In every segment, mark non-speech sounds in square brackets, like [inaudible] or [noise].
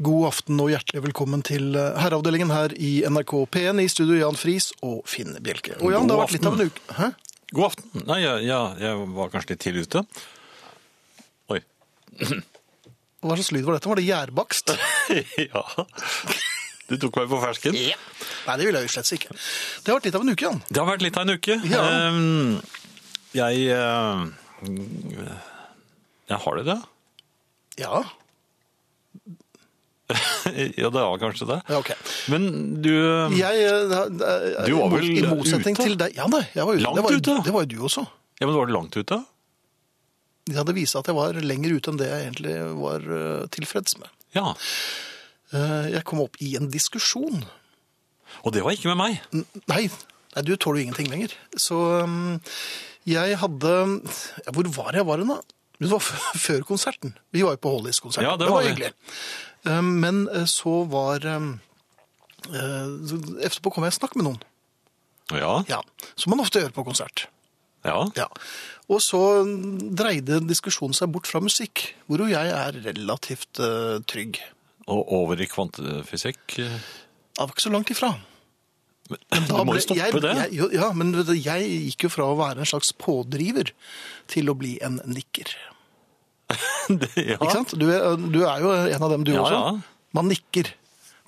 God aften og hjertelig velkommen til eh, herreavdelingen her i NRK P1 i studio Jan Friis og Finn Bjelke. Og Jan, det har God vært litt av en uke Hæ? God aften. Nei, jeg, ja, jeg var kanskje litt tidlig ute. [laughs] Oi. Hva slags lyd var dette? Var det [laughs] gjærbakst? ja. Du tok meg på fersken. Nei, det ville jeg jo slett ikke. Det har vært litt av en uke, Jan. Det har vært litt av en uke. Ja. Ehm, Jeg eh, Jeg har det, [laughs] da. Ja, ja, det var kanskje det. ja ok. Men du Jeg, Jeg, eh, eh, Um, Du var vel I motsetning ute? til deg. Ja, nei, jeg var ute. Langt det var, jo- ute? Det var jo du også. ja, men Var det langt ute? De hadde vist at jeg var lenger ute enn det jeg egentlig var eh, tilfreds med. Ja. Eh, Jeg kom opp i en diskusjon. Og det var ikke med meg. N- Nei, nei du tåler jo ingenting lenger. Så um, jeg hadde ja, Hvor var jeg var hen, da? Det var f- [laughs] før konserten. Vi var jo på Hollies-konsert. Ja, det var vi. hyggelig. Um, men eh, så var um, eh, så Etterpå kom jeg i snakk med noen. Ja. Ja, Som man ofte gjør på konsert. ja. Ja. Og så um, dreide diskusjonen seg bort fra musikk, hvor jo jeg er relativt eh, trygg. Og over i kvantefysikk. Jeg var ikke så langt ifra. Men, Da du må ble- jo stoppe jeg, det. Jeg, jo, ja, men vet du, jeg gikk jo fra å være en slags pådriver til å bli en nikker. [laughs] det ja. Ikke sant? Du er, du er jo en av dem, du Ja, også. ja. Man nikker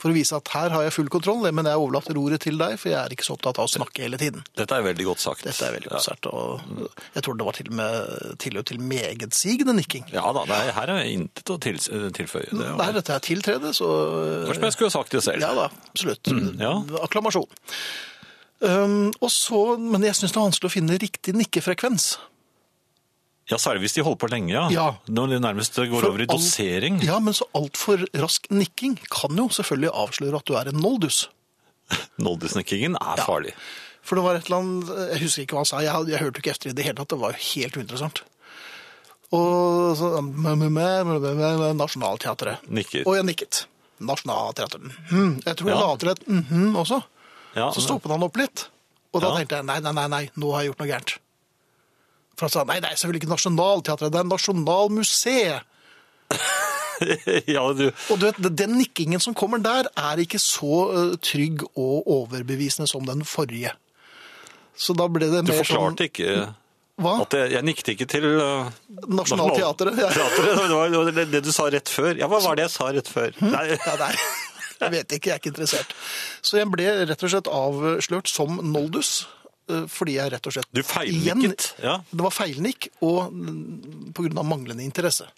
for å vise at her har jeg full kontroll, men jeg overlater ordet til deg, for jeg er ikke så opptatt av å snakke hele tiden. Dette er veldig godt sagt. Dette er veldig konsert, og jeg tror det var til og med tilløp til megetsigende nikking. Ja da, det er, her er intet å tils- tilføye. Det, Der dette er tiltredet, så Akkurat som jeg skulle ha sagt det selv. Ja da, absolutt. ja. Akklamasjon. Um, og så, men jeg synes det er vanskelig å finne riktig nikkefrekvens. Ja, særlig hvis de holder på lenge, ja. Ja. Når det nærmest går For over i all- dosering. Ja, men så altfor rask nikking kan jo selvfølgelig avsløre at du er en noldus. Noldesnikkingen er farlig. For det var et eller annet, jeg husker ikke hva han sa, jeg, jeg hørte jo ikke etter i det hele tatt, det var jo helt uinteressant. Og så, mm, mæ, mæ, mæ, mæ, mæ, mæ, mæ, mm, Nationalteatret. Nikket. Og jeg nikket. Nationalteatret. Mhm. Jeg tror jeg Ja. la til et mhm også. Ja, Så stoppet han opp litt. Og da Ja. tenkte jeg, nei, nei, nei, nei, nå har jeg gjort noe gærent. For han sa, nei, nei, selvfølgelig ikke Nationalteatret, det er Nasjonalmuseet. [laughs] ja, du, Og du vet, Den nikkingen som kommer der, er ikke så eh, trygg og overbevisende som den forrige. Så da ble det du mer forklarte ikke sånn Hva? at jeg, jeg nikket ikke til uh, Nationalteatret? [laughs] Ja. Nationalteatret. Det var- det var det, det du sa rett før. Ja, hva var det jeg sa rett før? Nei, Ja, nei. [laughs] Jeg vet ikke, jeg er ikke interessert. Så jeg ble rett og slett avslørt som noldus. eh, Fordi jeg rett og slett Du feilnikket, Igjen, ja. Det var feilnikk, og mm, på grunn av manglende interesse.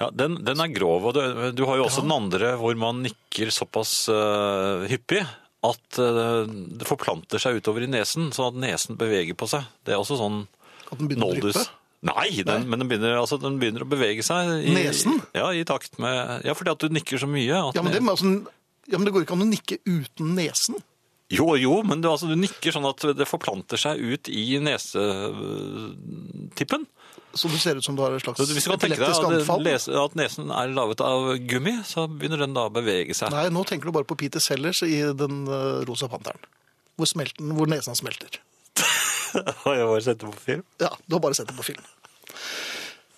ja, den, den er grov, og du, du har jo også den andre hvor man nikker såpass uh, hyppig at uh, det forplanter seg utover i nesen, sånn at nesen beveger på seg. Det er også sånn At den begynner å Noldus. dryppe. Nei, den, men den begynner, altså, den begynner å bevege seg. I, Nesen? Ja, i takt med Ja, fordi at du nikker så mye. At Ja, men det, må altså- ja, men det går ikke an å nikke uten nesen. Jo, jo, men du, altså, du nikker sånn at det forplanter seg ut i nesetippen. Så du ser ut som du har et slags Så Hvis du kan tenke deg epileptisk at, anfall. les- at nesen er laget av gummi, så begynner den da å bevege seg. Nei, nå tenker du bare på Peter Sellers i Den eh, rosa panteren. Hvor, smelten, hvor nesen smelter. Har jeg bare sett det på film? Ja, du har bare sett det på film.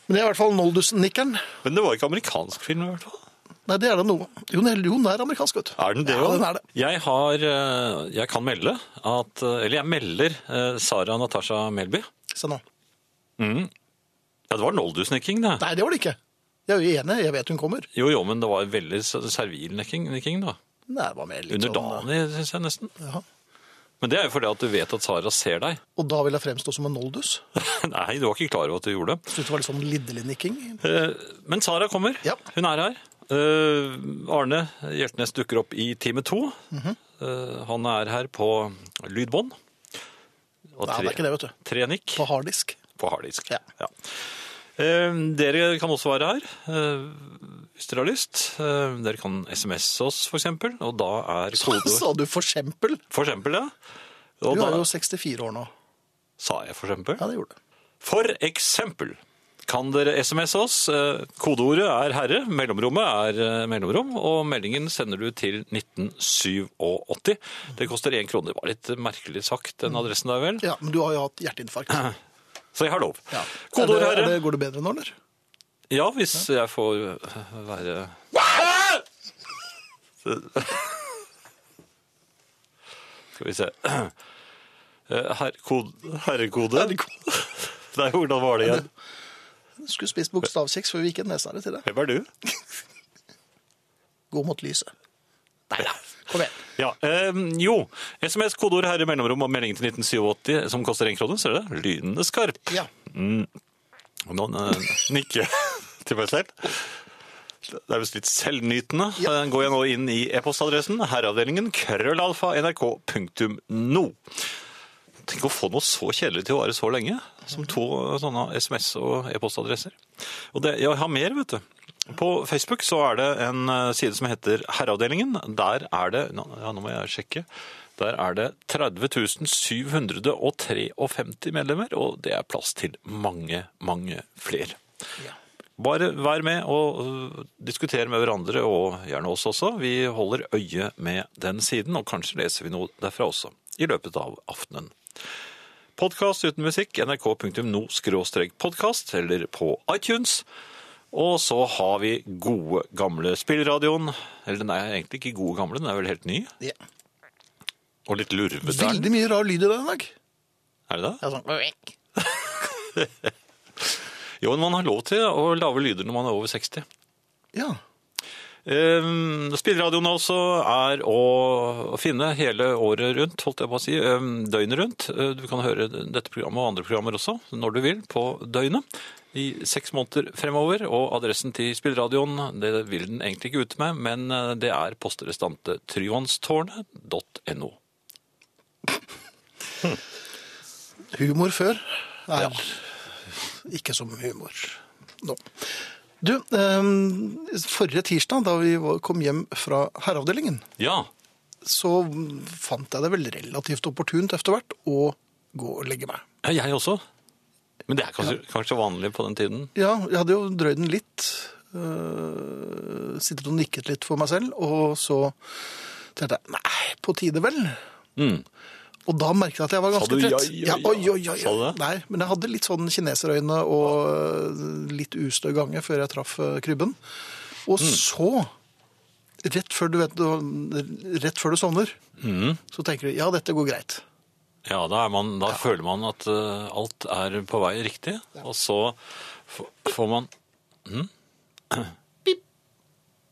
Men det er i hvert fall Noldus-nikkeren. Men det var ikke amerikansk film, i hvert fall. Nei, det er da noe. Jo, den er- jo, den er amerikansk, vet du. Er den det Ja, også? den er det. Jeg, har, eh, jeg kan melde at eh, Eller jeg melder eh, Sara Natasha Melby. Se nå. Ja, det var noldusnikking, det. Nei, det var det ikke. Jeg er jo enig, jeg vet hun kommer. Jo, jo, men det var veldig servil nikking, nikking da. Nei, det var mer litt Under sånn, eh, dagen, synes jeg nesten. ja. Men det er jo fordi at du vet at Sara ser deg. [laughs] Og da vil jeg fremstå som en Noldus. Nei, du var ikke klar over at du gjorde det. Synes det var litt sånn lidderlig [laughs] nikking. Eh, Men Sara kommer. Ja. Hun er her. Eh, Arne Hjertnes dukker opp i time to. Mhm. Eh, Han er her på lydbånd. Og Nei, det er ikke det, vet du. tre nikk På harddisk. på harddisk. Ja. Eh, Dere kan også være her, eh, hvis dere har lyst. Eh, Dere kan SMS oss, for eksempel. Og da [laughs] er Så kodeord sa du for eksempel. For eksempel, ja. Og Du da er jo 64 år nå. sa jeg for eksempel. Ja, det gjorde du. For eksempel kan dere SMS oss. Eh, Kodeordet er herre, mellomrommet er eh, mellomrom, og meldingen sender du til 1987. Det koster én krone. Det var litt merkelig sagt, den adressen der vel? Mm. Ja, men du har jo hatt hjerteinfarkt. [laughs] Så jeg har lov. Ja. Kodeord Er det- er herre. det- Går det bedre nå, eller? Ja, hvis jeg får eh, øh, være Skal vi se. Øh, Eh, Herrekode. Herrekode. Du Nei, hvordan var det igjen? skulle spist bokstavkjeks før vi gikk en nesnare til deg. Hvem er du? Gå mot lyset. Nei da. Kom igjen. Ja, eh, jo. SMS, kodeord, herre, mellomrom og melding til 1987 som koster én krone. Ser du det? Lynende skarp. Ja. Og Nå eh, nikker jeg [laughs] til meg selv. Det er visst litt selvnytende. Ja. Eh, Går jeg nå inn i e-postadressen herreavdelingen krøllalfa nrk.no. Tenk å få noe så kjedelig til å vare så lenge som to eh, sånne SMS- og e-postadresser. Og det, jeg har mer, vet du. På Facebook så er det en eh, side som heter Herreavdelingen. Der er det nå- Ja, nå må jeg sjekke. Der er det 30 753 medlemmer, og det er plass til mange, mange flere. Ja. Bare vær med og øh, diskutere med hverandre, og gjerne oss også. Vi holder øye med den siden, og kanskje leser vi noe derfra også i løpet av aftenen. Podkast uten musikk, nrk.no-podkast, eller på iTunes. Og så har vi gode, gamle spillradioen. Eller den er egentlig ikke gode gamle, den er vel helt ny. Ja. Og litt lurvete. er den. Veldig mye rar lyd i dag i dag. Er det det? Ja, sånn. Jo, men man har lov til å lave lyder når man er over 60. Ja. Um, Spilleradioen også er å finne hele året rundt, holdt jeg på å si, ehm, døgnet rundt. Eh, Du kan høre dette programmet og andre programmer også, når du vil, på døgnet. I seks måneder fremover, og adressen til spilleradioen det vil den egentlig ikke ut med, men eh, det er posterestante-tryvannstårnet.no. Humor før er ikke som humor nå. Du, eh, forrige tirsdag da vi var- kom hjem fra herreavdelingen, Ja, så fant jeg det vel relativt opportunt etter hvert å gå og legge meg. jeg også. Men det er kanskje, kanskje vanlig på den tiden. Ja, jeg hadde jo drøyd den litt. øh, sittet og nikket litt for meg selv, og så tenkte jeg nei, på tide vel. Mm. Og da merket jeg at jeg var ganske du ja, trett. ja, ja? oi, oi, oi. Sa du det? Nei, men jeg hadde litt sånn kineserøyne og øh, litt ustø gange før jeg traff øh, krybben. Og Mm. så, rett før du, vet, det, rett før du sovner, Mm. så tenker du ja, dette går greit. Ja, da, er man, da føler man at eh, alt er på vei riktig, og så f- får man [clears throat] Mhm.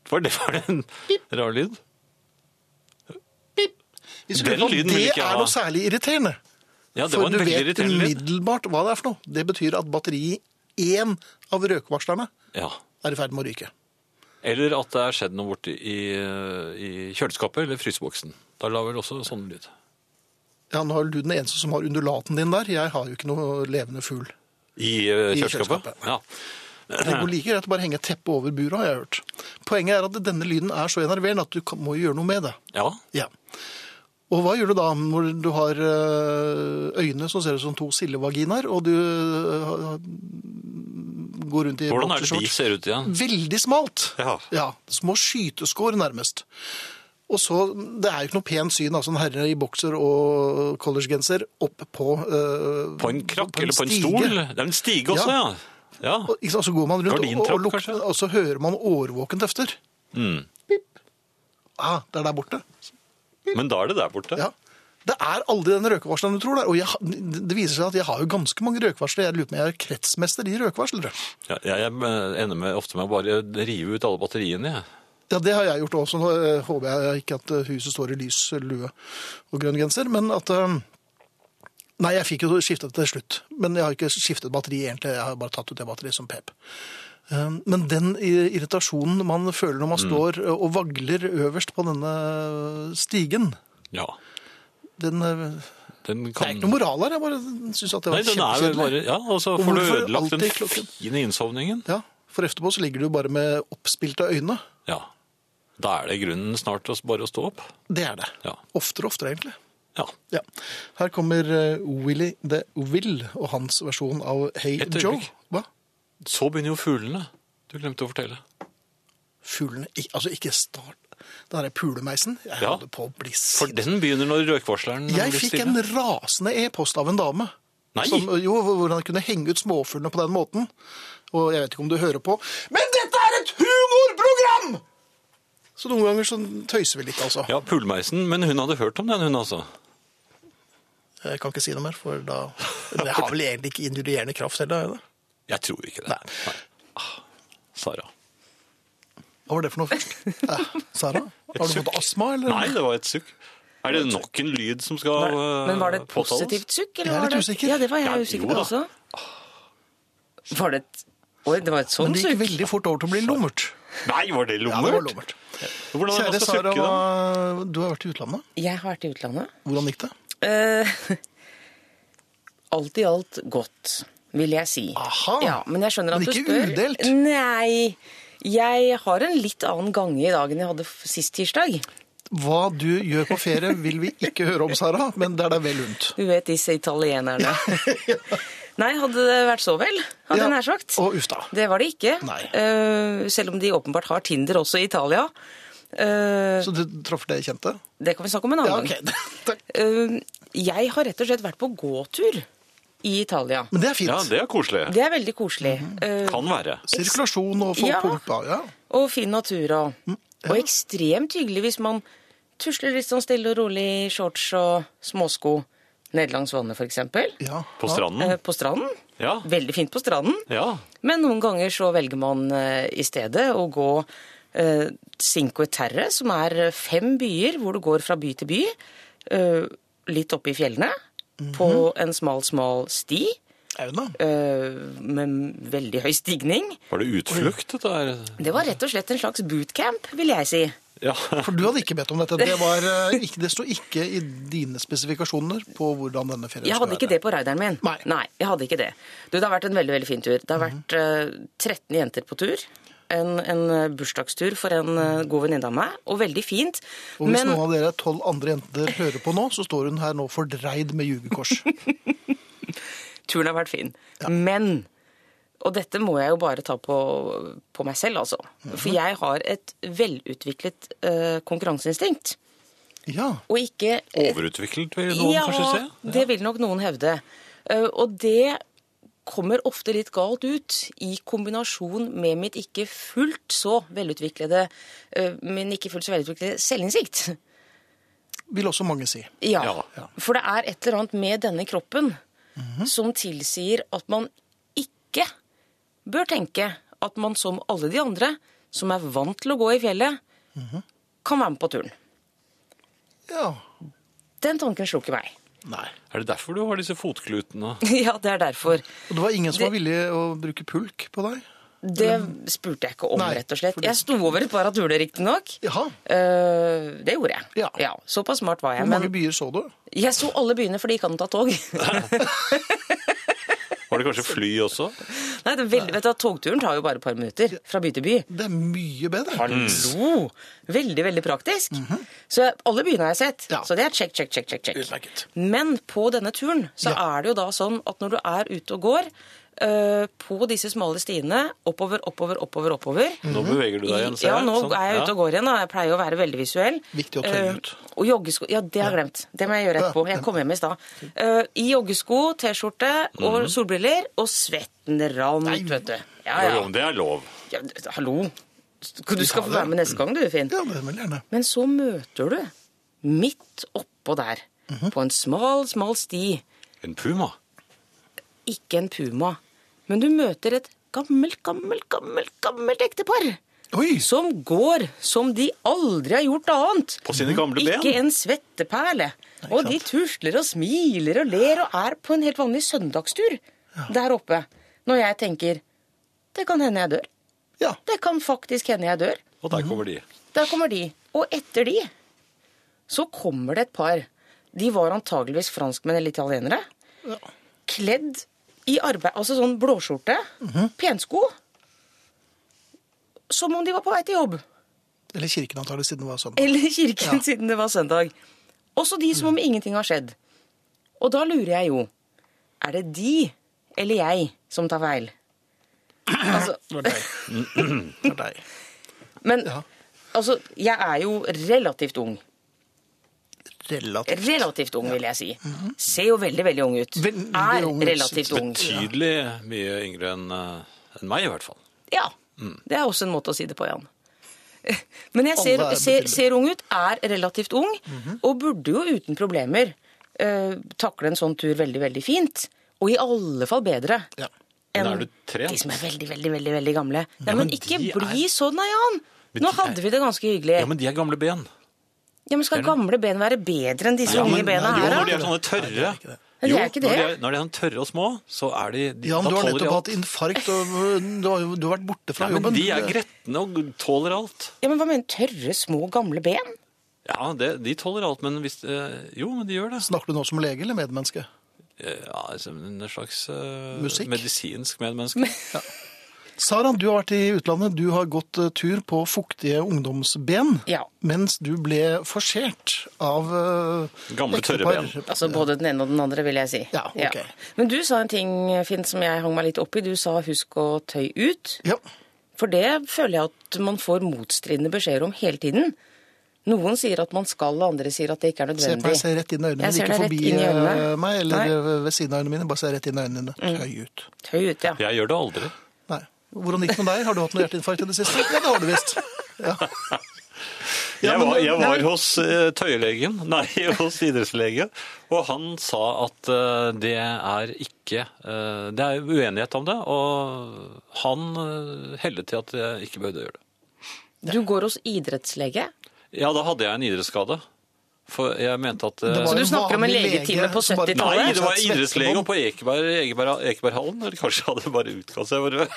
Var det, var det en rar lyd? Hvis Den du lurer på om lyden vil det ikke jeg er ha. noe særlig irriterende. Ja, det For var du en veldig vet irriterende lyd. umiddelbart hva det er for noe. Det betyr at batteriet i én av røkvarslerne Ja. er i ferd med å ryke. Eller at det er skjedd noe borte i, eh, i kjøleskapet eller fryseboksen. Da la vel også sånn lyd. Ja, nå er du den eneste som har undulaten din der. Jeg har jo ikke noe levende fugl. I eh, I kjøleskapet? kjøleskapet. Ja. [clears throat] Det går like greit å bare henge et teppe over buret, har jeg hørt. Poenget er at denne lyden er så enerverende at du kan- må gjøre noe med det. ja. Ja. Og hva gjør du da når du har øh, øyne som ser ut som to sildevaginaer, og du øh, går rundt i Hvordan er det de boxershorts? ser ut igjen? Veldig smalt. Ja. Små skyteskår, nærmest. Og så, Det er jo ikke noe pent syn, altså en herre i bokser og collegegenser opp på eh, På en krakk eller på en stige. stol? Det er en stige også, Ja. ja. ja. Og, eh, ikke sant, så går man rundt, og, Gardintrapp, og, lukter- kanskje? og så hører man årvåkent efter. Mm. Pip. Ah, det er der borte. Men da er det der borte. Ja. Det er aldri den røkevarsleren du tror det er. Og jeg, ha- det viser seg at jeg har jo ganske mange røkevarslere. Jeg lurer på om jeg er kretsmester i røkevarslere. Ja, jeg jeg ender med, ofte med å bare rive ut alle batteriene. jeg. Ja, det har jeg gjort også. Nå eh, håper jeg ikke at eh, huset står i lys lue og grønn genser, men at eh, Nei, jeg fikk jo skiftet til slutt, men jeg har ikke skiftet batteri egentlig. Jeg har bare tatt ut det batteriet som pep. Eh, Men den i- irritasjonen man føler når man Mm. står eh, og vagler øverst på denne stigen, Ja. den eh, Den Det kan... er ikke noe moral her, jeg bare syns at det Nei, var den er vel bare kjempekjedelig. Ja, og så Og får du hvorfor ødelagt den alltid klokken? fine innsovningen. Ja, for etterpå så ligger du bare med oppspilte øyne. Ja. Da er det i grunnen snart å s- bare å stå opp. Det er det. Ja. Oftere og oftere, egentlig. Ja. Ja. Her kommer eh, Willy the Will og hans versjon av Hey Et Joe. øyeblikk. Hva? Så begynner jo fuglene. Du glemte å fortelle. Fuglene Ik- Altså, ikke start Den derre pulemeisen. Jeg Ja. holder på å bli For sint. den begynner når røkvarsleren Jeg blir fikk stille. en rasende e-post av en dame. Nei! Som, jo, Hvordan jeg kunne henge ut småfuglene på den måten. Og jeg vet ikke om du hører på. Men dette er et humorprogram! Så noen ganger så tøyser vi litt, altså. Ja, Pulmeisen, men hun hadde hørt om den, hun altså. Jeg kan ikke si noe mer, for da Men jeg har vel egentlig ikke indulgerende kraft heller. har jeg det? Jeg tror ikke det. Nei. Ah, Sara. Hva var det for noe [laughs] først? Eh, Sara? Har du fått astma, eller? Nei, det var et sukk. Er det nok en lyd som skal eh, Men var det et påtales? positivt sukk? Jeg er eller var litt usikker. Ja, det var Ja, jeg jo usikker da. på også. Ah. Var det et Oi, det var et Men sånt det sukk? gikk veldig fort over til å bli lommert. Nei, var det Ja, det var lummert? lommert. Hvordan er det Kjære man skal Sara, sukke da? hva- du har vært i utlandet. Jeg har vært i utlandet. Hvordan gikk det? Eh, [laughs] alt i alt godt, vil jeg si. Aha. Ja, men jeg skjønner at Men du ikke spør. udelt. Nei. Jeg har en litt annen gange i dag enn jeg hadde f- sist tirsdag. Hva du gjør på ferie vil vi ikke høre om, Sara, men det er deg vel unt. Du vet disse [laughs] italienerne. Nei, hadde det vært så vel, hadde jeg nær sagt. Og uff da. Det var det ikke. Nei. Eh, selv om de åpenbart har Tinder også i Italia. Eh, Så du traff det kjente? det kan vi snakke om en Ja, annen ok. [laughs] gang. Takk. Eh, jeg har rett og slett vært på gåtur i Italia. Men det er fint. Ja, det er koselig. Det er veldig koselig. Mhm. Eh, Kan være. Sirkulasjon og få Ja. pumpa. Ja. og fin natur og, Mm, og ekstremt hyggelig hvis man tusler litt sånn stille og rolig i shorts og småsko ned langs vannet, f.eks. ja. På stranden. Eh, på stranden. Ja. Veldig fint på stranden. ja. Men noen ganger så velger man eh, i stedet å gå eh, Cinque Terre, som er eh, fem byer hvor du går fra by til by, eh, litt oppe i fjellene, på Mhm. en smal, smal sti Ja. Auna. eh, med veldig høy stigning. Var det utflukt, dette her? Det var rett og slett en slags bootcamp, vil jeg si. Ja. For du hadde ikke bedt om dette. Det, var, eh, ikke, det sto ikke i dine spesifikasjoner på hvordan denne ferien Jeg hadde ikke det på rideren min. Nei. Mhm. jeg hadde ikke det. Du, det har vært en veldig, veldig fin tur. Det har vært eh, 13 jenter på tur. En, en eh, bursdagstur for en eh, god venninne av meg, og veldig fint. Og hvis Men noen av dere tolv andre jenter hører på nå, så står hun her nå fordreid med jugekors. turen har vært fin. Men Og dette må jeg jo bare ta på, på meg selv, altså. Mhm. For jeg har et velutviklet eh, konkurranseinstinkt. [laughs] Ja. Og ikke Overutviklet, vil noen kanskje se? Ja, det vil nok noen hevde. Eh, Og det kommer ofte litt galt ut i kombinasjon med mitt ikke fullt så velutviklede eh, min ikke fullt så velutviklede selvinnsikt. Vil også mange si. Ja. Ja. For det er et eller annet med denne kroppen Mhm. som tilsier at man ikke bør tenke at man som alle de andre, som er vant til å gå i fjellet, Mhm. kan være med på turen. Ja. Den tanken slo ikke meg. Nei. Er det derfor du har disse fotklutene? [laughs] ja, det er derfor. Og det var ingen som var villig å bruke pulk på deg? Det spurte jeg ikke om, Nei, rett og slett. Jeg sto over et par av turene, riktignok. Jaha. Eh, det gjorde jeg. Ja. Såpass smart var jeg. Hvor mange Men byer så du? jeg så alle byene, for det gikk an å ta tog. [laughs] Nei, Var det [laughs] kanskje fly også? det er veldig, vet du, hva, Togturen tar jo bare et par minutter fra by til by. Det er mye bedre. Hallo! Veldig, veldig praktisk. Så alle byene har jeg sett. Ja. Så det er check, check, check, check. check. Utmerket. Men på denne turen så Ja. er det jo da sånn at når du er ute og går eh, på disse smale stiene, oppover, oppover, oppover, oppover Nå beveger du deg igjen, ser ja, jeg. nå Sånn. er jeg ute og går igjen, og jeg pleier jo å være veldig visuell. Viktig å tøye Eh, ut. og joggesko Ja, det har jeg glemt. Det må jeg gjøre etterpå. Jeg kom hjem i stad. Eh, I joggesko, T-skjorte og solbriller, og svetten rant, vet du. Ja, Ja. ja. Jo, men det er lov. ja d- hallo. Du skal få det. være med neste gang, du, Finn. Ja, det vil jeg gjerne. Men så møter du, midt oppå der, på en smal, smal sti, En puma. ikke en puma, men du møter et gammelt, gammelt, gammelt, gammelt ektepar. Oi! Som går som de aldri har gjort annet. På sine gamle ben. Mm. Ikke en svetteperle. Og de tusler og smiler og ler og er på en helt vanlig søndagstur der oppe. Når jeg tenker det kan hende jeg dør. Ja. Det kan faktisk hende jeg dør. Og der kommer de. Der kommer de. Og etter de så kommer det et par. De var antageligvis franskmenn eller italienere. Kledd i arbeid, altså sånn blåskjorte, pensko. Som om de var på vei til jobb. Eller kirken antar det siden det var sånn. søndag. Eller i kirken siden det var søndag. Også de som om ingenting har skjedd. Og da lurer jeg jo Er det de eller jeg som tar feil? Altså, Det var deg. Det var deg. men Ja. altså, jeg er jo relativt ung. Relativt. Relativt ung, vil jeg si. Ser jo veldig, veldig ung ut. Mhm. Veldig Er ung, relativt ung. Tydelig mye yngre enn eh, enn meg, i hvert fall. Ja. Det er også en måte å si det på, Jan. [laughs] Men jeg ser, Alle er ser, betydelig. Mhm. ser ung ut, er relativt ung, og burde jo uten problemer eh, takle en sånn tur veldig, veldig fint. Og i alle fall bedre. Ja. Men enn er du trent? De som er veldig, veldig, veldig, veldig gamle. Nei, men men ikke de er- bli så naian! Men de Nå er- hadde vi det ganske hyggelig. Ja, men de er gamle ben. Ja, men Skal gamle ben være bedre enn disse Ja, unge men- bena jo, her, når de da? er sånne Nei, det tørre. er ikke det. Men de er Jo, ikke Når de det. er, når de er sånn tørre og små, så er de, de Jan, da du har tåler de nettopp alt. hatt infarkt, og du har, jo- du har vært borte fra Nei, men jobben. de er gretne og tåler alt. Ja, men Hva mener du? Tørre, små, gamle ben? Ja, det, de tåler alt, men hvis eh, Jo, men de gjør det. Snakker du nå som lege eller medmenneske? Eh, Ja, altså, en slags eh, Musikk? medisinsk medmenneske. Sara, du har vært i utlandet. Du har gått eh, tur på fuktige ungdomsben. Ja. Mens du ble forsert av eh, Gamle, tørre ektepar. ben. Altså både den ene og den andre, vil jeg si. Ja, ok. Men du sa en ting, Finn, som jeg hang meg litt opp i. Du sa husk å tøy ut. Ja. For det føler jeg at man får motstridende beskjeder om hele tiden. Noen sier at man skal, og andre sier at det ikke er Se på meg, nødvendig. se rett inn i øynene Jeg dine. ser Ikke deg rett forbi inn i øynene. eh, meg eller Nei. Mm. eh, ved siden av øynene mine. Bare se rett inn i øynene dine. Høy ut. Tøy ut, ja. Jeg gjør det aldri. Nei. Hvordan gikk det med deg? Har du hatt noe hjerteinfarkt i det siste? Ja, det har du visst. Ja. Ja, jeg men- var, jeg var nei. hos eh, tøyelegen, [laughs] nei, hos idrettslege, og han sa at eh, det er ikke eh, Det er uenighet om det, og han eh, hellet til at jeg ikke behøvde å gjøre det. Du går hos idrettslege. Ja, da hadde jeg en idrettsskade. For jeg mente at eh, Det var Så du en snakker om en vanlig legetime lege på som bare- 70-tallet? Nei, Rett det var og slett idrettslege svettebånd. og på Ekeberg, Ekeberg, Ekeberghallen. Eller kanskje hadde jeg bare utgått seg for å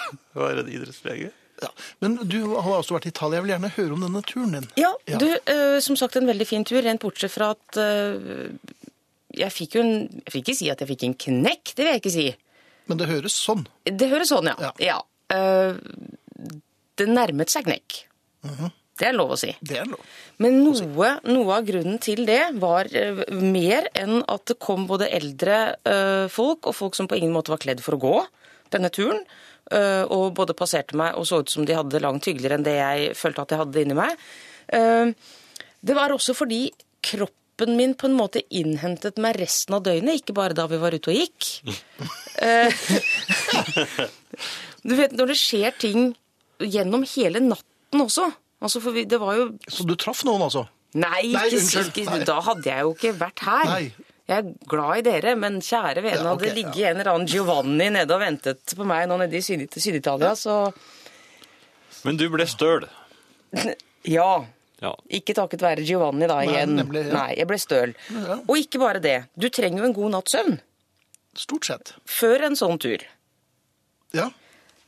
være en idrettslege. Ja. Men du har også vært i Italia. Jeg vil gjerne høre om denne turen din. Ja, Ja. du, eh, som sagt en veldig fin tur, rent bortsett fra at eh, jeg fikk jo en Jeg vil ikke si at jeg fikk en knekk, det vil jeg ikke si. Men det høres sånn. Det høres sånn, ja. ja. Eh, det nærmet seg knekk. Mhm. Det er lov å si. Det er lov. Men noe, noe av grunnen til det var eh, mer enn at det kom både eldre eh, folk og folk som på ingen måte var kledd for å gå denne turen. eh, og både passerte meg og så ut som de hadde det langt hyggeligere enn det jeg følte at jeg hadde det inni meg. Eh, det var også fordi kroppen min på en måte innhentet meg resten av døgnet, ikke bare da vi var ute og gikk. Eh, [laughs] du vet, når det skjer ting gjennom hele natten også altså for vi, Det var jo Så du traff noen, altså? Nei, Nei, ikke, unnskyld. ikke, Nei. da hadde jeg jo ikke vært her. Nei. Jeg er glad i dere, men kjære vene, Ja, ok, hadde ligget en eller annen Giovanni nede og ventet på meg nå nede i Syd- Syd-Italia, så Men du ble støl. ja. Ja. Ikke takket være Giovanni da igjen. nemlig, ja. Nei, jeg ble støl. Ja. Og ikke bare det. Du trenger jo en god natts søvn Stort sett. før en sånn tur. Ja.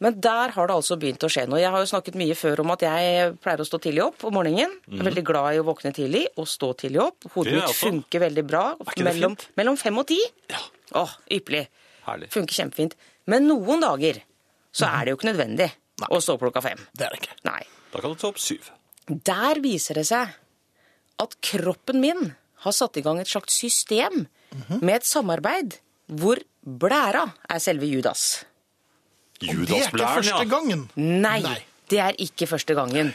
Men der har det altså begynt å skje noe. Jeg har jo snakket mye før om at jeg pleier å stå tidlig opp om morgenen. Er veldig glad i å våkne tidlig og stå tidlig opp. Mhm. Det Hodet er mitt altså- funker veldig bra. ikke det mellom, fint? mellom fem og ti. Ja. Åh, ypperlig. Herlig. Funker kjempefint. Men noen dager så er det jo ikke nødvendig å stå opp klokka fem. Det er det ikke. Nei. Da kan du ta opp syv. Der viser det seg at kroppen min har satt i gang et slags system med et samarbeid hvor blæra er selve Judas. Det er ikke Judasblæren, første ja. gangen. Nei, Nei. det er ikke første gangen.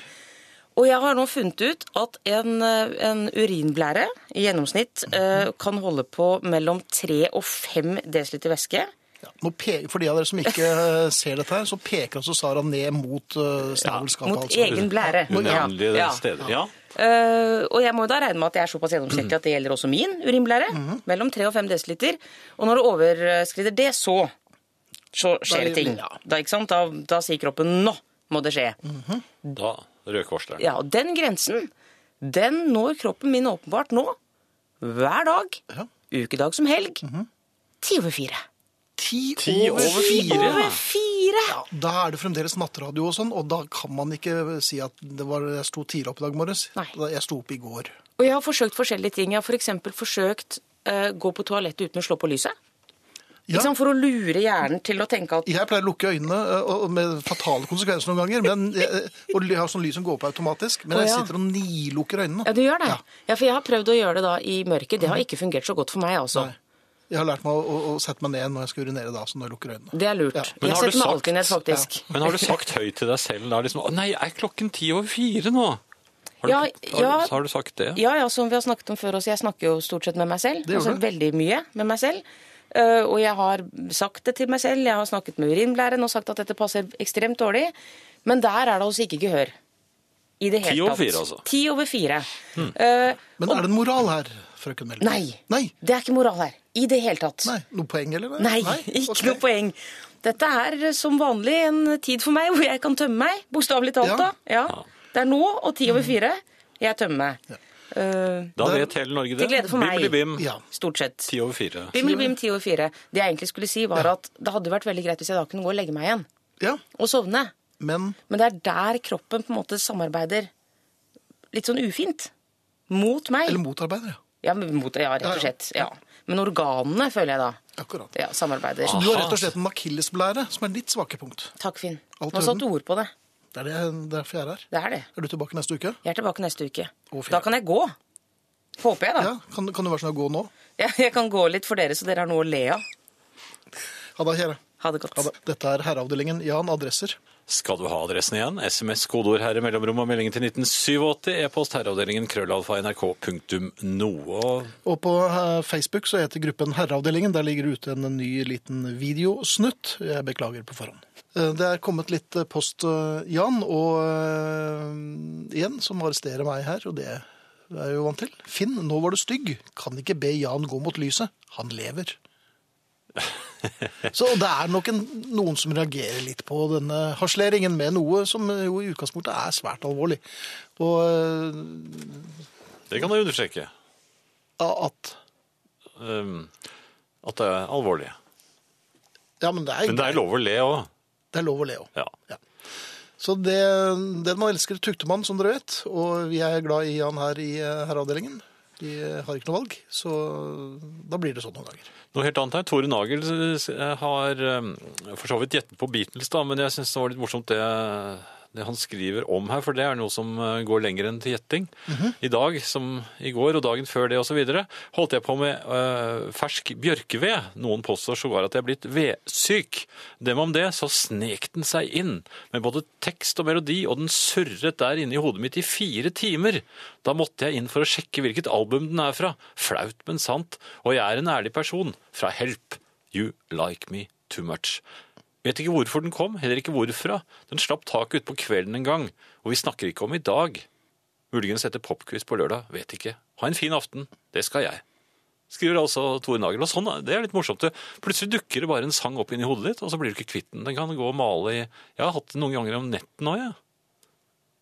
Og jeg har nå funnet ut at en, eh, en urinblære i gjennomsnitt eh, kan holde på mellom 3 og 5 dl væske. Ja. Nå pe- for de av dere som ikke [laughs] ser dette her, så peker altså Sara ned mot uh, snabelskapet. Mot altså. egen blære. Unevnelige Ja. steder. Ja. Eh, og jeg må jo da regne med at jeg er såpass gjennomsnittlig Mm. at det gjelder også min urinblære. Mm-hmm. Mellom 3 og 5 dl. Og når det overskrider det, så, så skjer det ting. ja. Da, ikke sant? Da, da sier kroppen 'nå må det skje'. Mm. Da røkvarsleren. Ja, og den grensen, den når kroppen min åpenbart nå. Hver dag, Ja. Mm-hmm. ukedag som helg, ti over fire. Ti, Ti over over fire. fire. Over fire! Da er det fremdeles nattradio og sånn, og da kan man ikke si at det var, jeg sto tidlig opp i dag morges. Nei. Da- Jeg sto opp i går. Og jeg har forsøkt forskjellige ting. Jeg har f.eks. forsøkt eh, gå på toalettet uten å slå på lyset. Ja. Ikke sant? For å lure hjernen til å tenke at Jeg pleier å lukke øynene eh, og- og med fatale konsekvenser noen ganger. Men, eh, og jeg har sånn lys som går på automatisk. Men Å, jeg ja. sitter og nilukker øynene. Ja, du gjør det. Ja. Ja. for jeg har prøvd å gjøre det da i mørket. Det har ikke fungert så godt for meg, altså. Nei. Jeg har lært meg å, å, å sette meg ned når jeg skal urinere da, så når jeg lukker øynene. Det er lurt. Ja. Men Jeg har du setter meg sagt- alltid ned, faktisk. Men har du sagt høyt til deg selv da liksom Å nei, er klokken ti over fire nå? Har du, Ja, har, ja. har du sagt det? Ja, ja, som vi har snakket om før også. Jeg snakker jo stort sett med meg selv. Det gjør altså du. veldig mye med meg selv. Eh, og jeg har sagt det til meg selv, jeg har snakket med urinblæren og sagt at dette passer ekstremt dårlig. Men der er det altså ikke gehør. i det hele Ti over tatt. fire, altså. Ti over fire. Hmm. Eh, Men er det en moral her, frøken Melding? nei, Nei? det er ikke moral her. I det hele tatt. Nei. Noe poeng, eller? Nei, ikke Ok. noe poeng. Dette er eh, som vanlig en tid for meg hvor jeg kan tømme meg, bokstavelig talt. Ja. da. Ja. Det er nå og ti over fire jeg tømmer meg. Eh, Da Det- vet hele Norge det. til glede for meg. Bim, Ja. stort sett. Ti over fire. Bimmelbim ti over fire. Det jeg egentlig skulle si, var at det hadde vært veldig greit hvis jeg da kunne gå og legge meg igjen Ja, og sovne. men Men det er der kroppen på en måte samarbeider litt sånn ufint. Mot meg. Eller motarbeidere. Ja, men mot, ja rett Ja, ja. og slett. Ja. Men organene, føler jeg da, Akkurat. ja, samarbeider. Du har rett og slett en akillesblære som er ditt svake punkt. Takk, Finn. Alt Nå i satte du ord på det. Det er det, derfor jeg er her. Det er det. Er du tilbake neste uke? Jeg er tilbake neste uke. Å, fint. Da kan jeg gå. Håper jeg, da. Ja, Kan, kan du være sånn å gå nå? Jeg, jeg kan gå litt for dere, så dere har noe å le av. Ha det, kjære. Ha det godt. Ha det. Dette er Herreavdelingen. Jan Adresser. Skal du ha adressen igjen? SMS, kodeord herre, mellomrom og meldingen til 1987. E-post herreavdelingen krøllalfa nrk.no. Og Og på eh, Facebook så heter gruppen Herreavdelingen. Der ligger det ute en ny liten videosnutt. Jeg beklager på forhånd. Eh, Det er kommet litt eh, post, eh, Jan, og eh, en som arresterer meg her, og det er jeg jo vant til. Finn, nå var du stygg. Kan ikke be Jan gå mot lyset. Han lever. Så det er nok en, noen som reagerer litt på denne harsleringen med noe som jo i utgangspunktet er svært alvorlig. Og eh, det kan du understreke. at Um, at det er alvorlig. Ja, men det er, Men det er lov å le òg. det er lov å le òg. Ja. Så det, den man elsker, tukter man, som dere vet. Og vi er glad i han her i eh, herreavdelingen. De eh, har ikke noe valg, så da blir det sånn noen ganger. Noe helt annet her. Tore Nagel eh, har um, for så vidt gjettet på Beatles, da, men jeg syns det var litt morsomt det, det han skriver om her, for det er noe som eh, går lenger enn til gjetting. I dag som i går, og dagen før det osv., holdt jeg på med eh, fersk bjørkeved. Noen påstår sågar at jeg er blitt vedsyk. Dem om det, så snek den seg inn med både tekst og melodi, og den surret der inne i hodet mitt i fire timer. Da måtte jeg inn for å sjekke hvilket album den er fra. Flaut, men sant. Og jeg er en ærlig person. Fra Help. You like me too much. Vet ikke hvorfor den kom, heller ikke hvorfra. Den slapp taket utpå kvelden en gang, og vi snakker ikke om i dag. Muligens etter popquiz på lørdag, vet ikke. Ha en fin aften, det skal jeg. Skriver altså Tore Nagel. Og sånn, det er litt morsomt. det. Plutselig dukker det bare en sang opp inni hodet ditt, og så blir du ikke kvitt den. Den kan gå og male i Jeg har hatt det noen ganger om netten òg, jeg.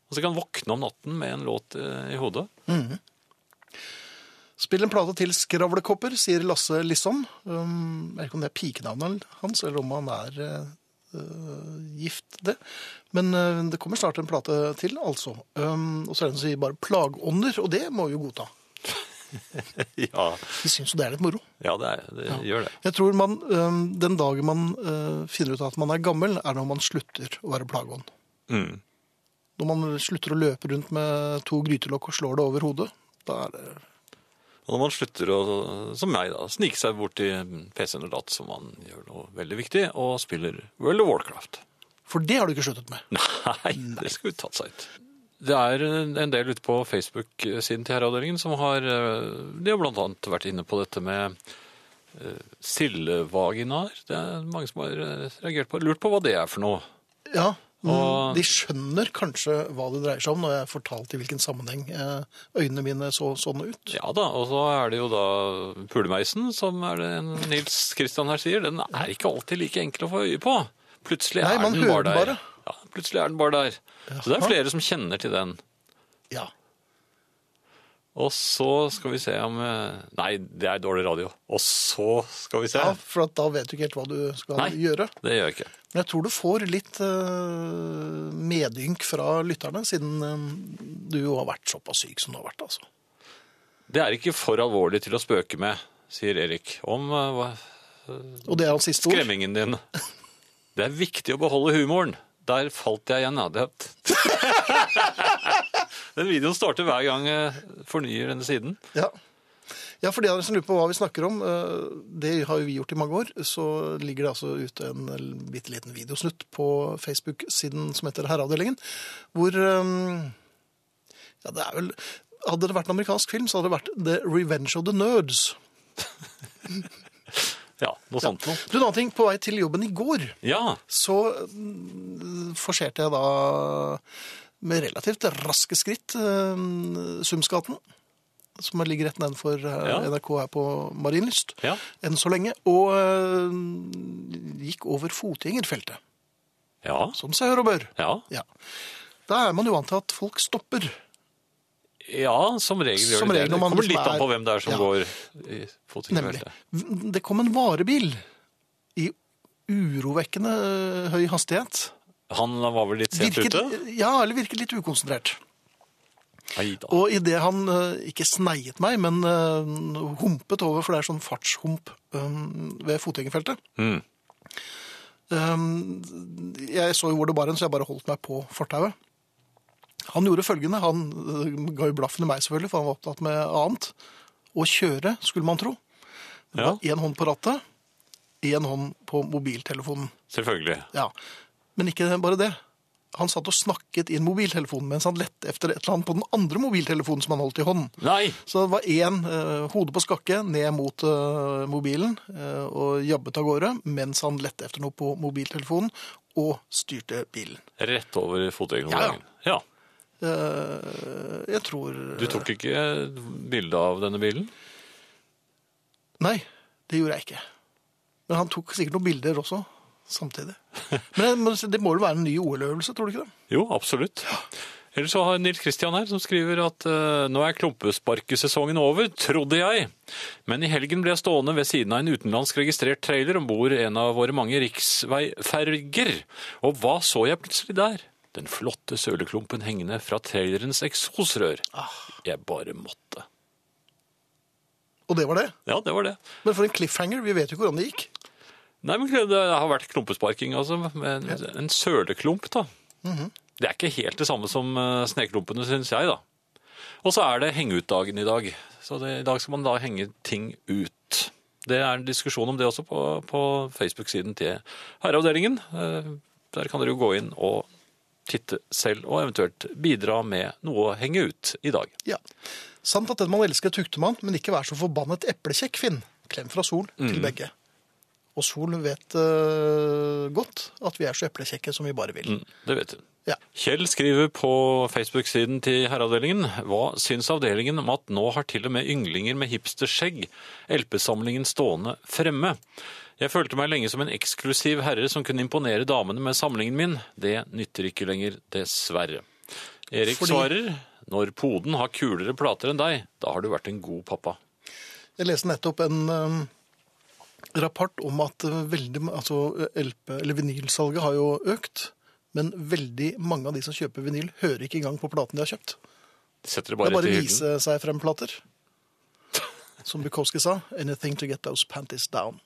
Og så kan jeg våkne om natten med en låt eh, i hodet. Spill en plate til Skravlekopper, sier Lasse Lisson. Um, jeg vet ikke om det er pikenavnet hans, eller om han er eh, øh, gift, det. Men eh, det kommer snart en plate til, altså. Um, og så er det en som sier bare 'plagånder', og det må vi jo godta. [laughs] Ja, Vi syns jo det er litt moro. ja det, er, det gjør det. Jeg tror man, øhm, den dagen man øh, finner ut at man er gammel, er når man slutter å være plageånd. Mm. Når man slutter å løpe rundt med to grytelokk og slår det over hodet, da er det Og når man slutter å, som meg da, snike seg bort til PC-en og late som man gjør noe veldig viktig, og spiller World of Warcraft. For det har du ikke sluttet med. Nei, det skulle tatt seg ut. Det er en del ute på Facebook-siden til Herreavdelingen som har eh, De har blant annet vært inne på dette med eh, sildevaginaer. Det er mange som har eh, reagert på Lurt på hva det er for noe. Ja, mm, Og- De skjønner kanskje hva det dreier seg om, når jeg fortalte i hvilken sammenheng eh, øynene mine så sånn ut. Ja da, og så er det jo da pulemeisen, som er det en Nils Kristian her sier. Den er ikke alltid like enkel å få øye på. Plutselig Nei, er man den hører bare den der. bare. Ja, plutselig er den bare der. Så Jaha. det er flere som kjenner til den. Ja. Og så skal vi se om eh, Nei, det er dårlig radio. Og så skal vi se. ja, For at da vet du ikke helt hva du skal Nei. gjøre. Det gjør jeg ikke. Men jeg tror du får litt eh, medynk fra lytterne, siden eh, du jo har vært såpass syk som du har vært. altså. Det er ikke for alvorlig til å spøke med, sier Erik, om eh, hva- Og det er hans siste ord. skremmingen din. Det er viktig å beholde humoren. Der falt jeg igjen, ja. Det... [laughs] Den videoen starter hver gang jeg fornyer denne siden. Ja. ja, for de av dere som lurer på hva vi snakker om, eh, det har jo vi gjort i mange år, så ligger det altså ute en l- bitte liten videosnutt på Facebook-siden som heter Herreavdelingen, hvor eh, Ja, det er vel Hadde det vært en amerikansk film, så hadde det vært The Revenge of the Nerds. Ja, noe sånt noe. Du, en annen ting. På vei til jobben i går Ja, så mm, forserte jeg da med relativt raske skritt eh, Sumsgaten, som ligger rett nedenfor eh, Ja. NRK her på Marienlyst, Ja. enn så lenge, og eh, gikk over fotgjengerfeltet, Ja. som seg hør og bør. Ja. Ja. Da er man jo vant til at folk stopper. ja, som regel gjør Som det regel det. når man Det kommer litt liksom an på er- hvem det er som Ja. går i Nemlig. fotgjengerfeltet. Det kom en varebil i urovekkende eh, høy hastighet. Han var vel litt sent Virket- ute? Ja, eller virket litt ukonsentrert. Nei da. Og idet han eh, ikke sneiet meg, men eh, humpet over, for det er sånn fartshump eh, ved fotgjengerfeltet Mm. Eh, Jeg så jo hvor det bar hen, så jeg bare holdt meg på fortauet. Han gjorde følgende, han eh, ga jo blaffen i meg selvfølgelig, for han var opptatt med annet. Å kjøre, skulle man tro. Det Ja. var én hånd på rattet, én hånd på mobiltelefonen. Selvfølgelig. Ja, Men ikke bare det. Han satt og snakket i en mobiltelefon mens han lette etter et eller annet på den andre mobiltelefonen som han holdt i hånden. Nei! Så det var én eh, hode på skakke ned mot eh, mobilen eh, og jabbet av gårde mens han lette etter noe på mobiltelefonen og styrte bilen. Rett over fotgjengerovergangen. Ja. Eh, jeg tror Du tok ikke eh, bilde av denne bilen? Nei, det gjorde jeg ikke. Men han tok sikkert noen bilder også samtidig. Men jeg må si, det må vel være en ny OL-øvelse, tror du ikke det? Jo, absolutt. Ellers så har Nils Kristian her som skriver at eh, nå er klumpesparkesesongen over, trodde jeg. Men i helgen ble jeg stående ved siden av en utenlandsk registrert trailer om bord en av våre mange riksveiferger. Og hva så jeg plutselig der? Den flotte søleklumpen hengende fra trailerens eksosrør. Jeg bare måtte. Og det var det. Ja, det var det. Men for en cliffhanger, vi vet jo ikke hvordan det gikk. Nei, men det har vært klumpesparking, altså. Med en, en søleklump, da. Det er ikke helt det samme som eh, sneklumpene, syns jeg, da. Og så er det hengeutdagen i dag. Så det, i dag skal man da henge ting ut. Det er en diskusjon om det også på, på Facebook-siden til Herreavdelingen. Eh, Der kan dere jo gå inn og titte selv, og eventuelt bidra med noe å henge ut i dag. Ja. Sant at den man elsker tukter man, men ikke vær så forbannet eplekjekk, Finn. Klem fra Sol til begge. Og Sol vet eh, godt at vi er så eplekjekke som vi bare vil. Mm, Det vet hun. Ja. Kjell skriver på Facebook-siden til Herreavdelingen Hva syns avdelingen om at nå har til og med ynglinger med hipsterskjegg LP-samlingen stående fremme? Jeg følte meg lenge som en eksklusiv herre som kunne imponere damene med samlingen min. Det nytter ikke lenger, dessverre. Erik Fordi- svarer når poden har kulere plater enn deg, da har du vært en god pappa. Jeg leste nettopp en eh, rapport om at eh, veldig, ma- altså eh, LP, eller vinylsalget har jo økt. Men veldig mange av de som kjøper vinyl, hører ikke engang på platen de har kjøpt. De Det setter det er bare bare til å hyllen. vise seg frem plater. Som Bukowski sa, 'anything to get those panties down'.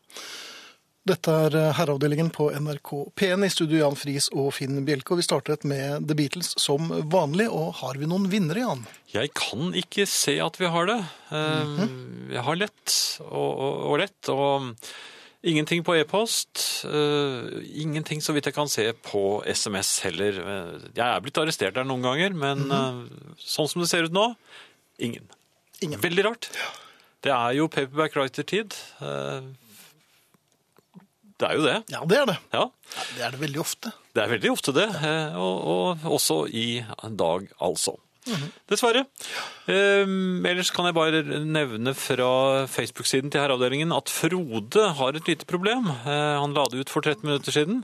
Dette er eh, herreavdelingen på NRK P1 i studio Jan Friis og Finn Bjelke. Og vi startet med The Beatles som vanlig. Og har vi noen vinnere, Jan? Jeg kan ikke se at vi har det. Eh, Jeg har lett og, og, og lett, og ingenting på e-post. eh, ingenting så vidt jeg kan se på SMS heller. Eh, Jeg er blitt arrestert der noen ganger, men eh, sånn som det ser ut nå, ingen. Ingen. Veldig rart. Det er jo paperback writer-tid. eh, det er jo det. Ja, det er det. Ja, Ja, Det er det veldig ofte. det er veldig ofte det, eh, og, og også i dag, altså. Dessverre. Eh, ellers kan jeg bare nevne fra Facebook-siden til Herreavdelingen at Frode har et lite problem. Eh, han la det ut for 13 minutter siden.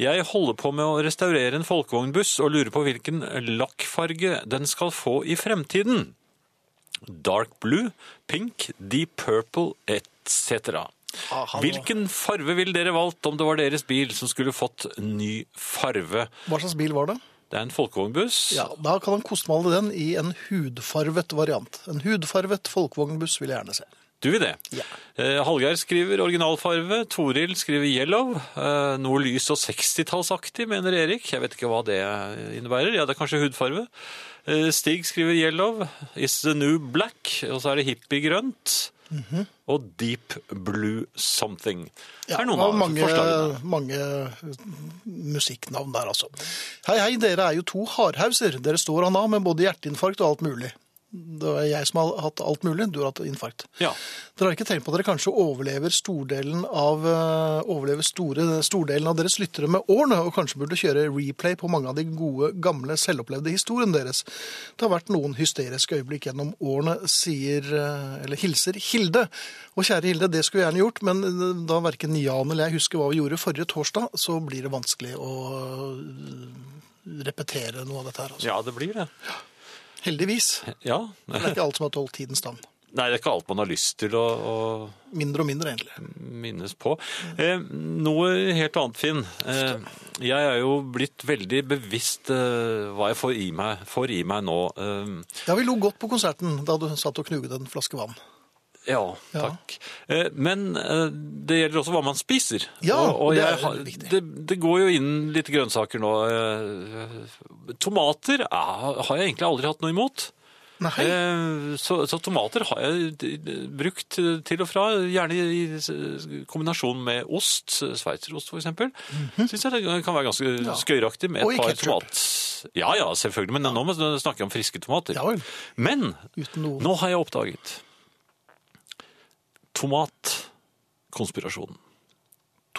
Jeg holder på med å restaurere en folkevognbuss og lurer på hvilken lakkfarge den skal få i fremtiden. Dark blue, pink, deep purple etc. Ah, han- Hvilken farve ville dere valgt om det var deres bil som skulle fått ny farve? Hva slags bil var det? Det er en folkevognbuss. Ja, Da kan han kostmale den i en hudfarvet variant. En hudfarvet folkevognbuss vil jeg gjerne se. Du vil det? Ja. Eh, Hallgeir skriver originalfarve, Toril skriver yellow. Eh, noe lys og 60-tallsaktig, mener Erik. Jeg vet ikke hva det innebærer. Ja, det er kanskje hudfarve. Eh, Stig skriver yellow, is the new black, og så er det hippiegrønt. Og deep blue something. Mhm. Ja, det er noen var av mange, forslagene. mange eh, musikknavn der, altså. Hei, hei, dere er jo to hardhauser. Dere står han av med både hjerteinfarkt og alt mulig. Det er jeg som har hatt alt mulig. Du har hatt infarkt. Ja. Dere har ikke tenkt på at dere kanskje overlever stordelen av, eh, overlever store, stordelen av deres lyttere med årene, og kanskje burde kjøre replay på mange av de gode, gamle, selvopplevde historiene deres. Det har vært noen hysteriske øyeblikk gjennom årene, sier, eh, eller hilser Hilde. Og kjære Hilde, det skulle jeg gjerne gjort, men eh, da verken Jan eller jeg husker hva vi gjorde forrige torsdag, så blir det vanskelig å eh, repetere noe av dette her. Altså. ja, det blir det. Heldigvis. Ja. Det er ikke alt som har tålt tidens tann. Nei, det er ikke alt man har lyst til å, å Mindre og mindre, egentlig. minnes på. Eh, noe helt annet, Finn. Eh, jeg er jo blitt veldig bevisst eh, hva jeg får i meg, får i meg nå. Eh, Ja, vi lo godt på konserten da du satt og knuget en flaske vann. ja, Ja. takk. Eh, men eh, det gjelder også hva man spiser. Ja, det er jeg har- veldig viktig. Det, det går jo inn litt grønnsaker nå. Eh, tomater eh, har jeg egentlig aldri hatt noe imot. Nei, Eh, Så, så tomater har jeg d- d- brukt til og fra, gjerne i s- kombinasjon med ost, sveitserost for eksempel. Synes jeg det kan være ganske skøyraktig med Mhm. Og i et par ketchup. tomat. Ja, ja, selvfølgelig, men nå må vi snakke om friske tomater. Ja vel. Men uten noe. nå har jeg oppdaget tomatkonspirasjonen.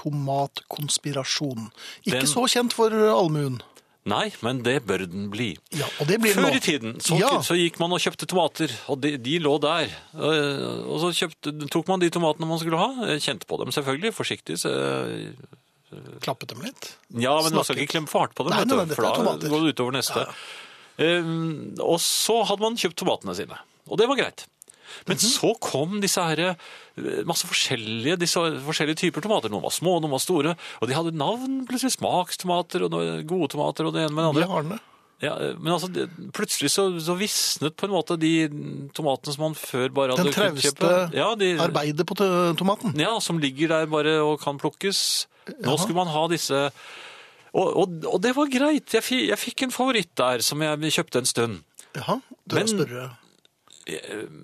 Tomatkonspirasjon. Ikke Den- så kjent for allmuen. Nei, men det bør den bli. Ja, og det blir det nå. Før i tiden så, Ja. så gikk man og kjøpte tomater, og de, de lå der. Eh, Og så kjøpte, tok man de tomatene man skulle ha, eh, kjente på dem selvfølgelig, forsiktig. Så, eh, Klappet dem litt. ja, men man skal Snakket. ikke klemme for hardt på dem, Nei, vet nei, du, nei, dette for er da tomater. går det utover neste. Eh, og så hadde man kjøpt tomatene sine, og det var greit. Men Mhm. så kom disse her, eh, masse forskjellige, disse forskjellige typer tomater. Noen var små, noen var store, og de hadde navn, plutselig smakstomater, og noen gode tomater, og det ene med det andre. Vi har den. Ja, men altså, det- plutselig så, så visnet på en måte de tomatene som man før bare Den hadde trauste kunnet kjøpe. ja, de, Arbeidet på to- tomaten. Ja, som ligger der bare og kan plukkes. Nå skulle man ha disse... Og, og, og det var greit. Jeg, fi- jeg fikk en favoritt der som jeg kjøpte en stund. Jaha, du Men- er større.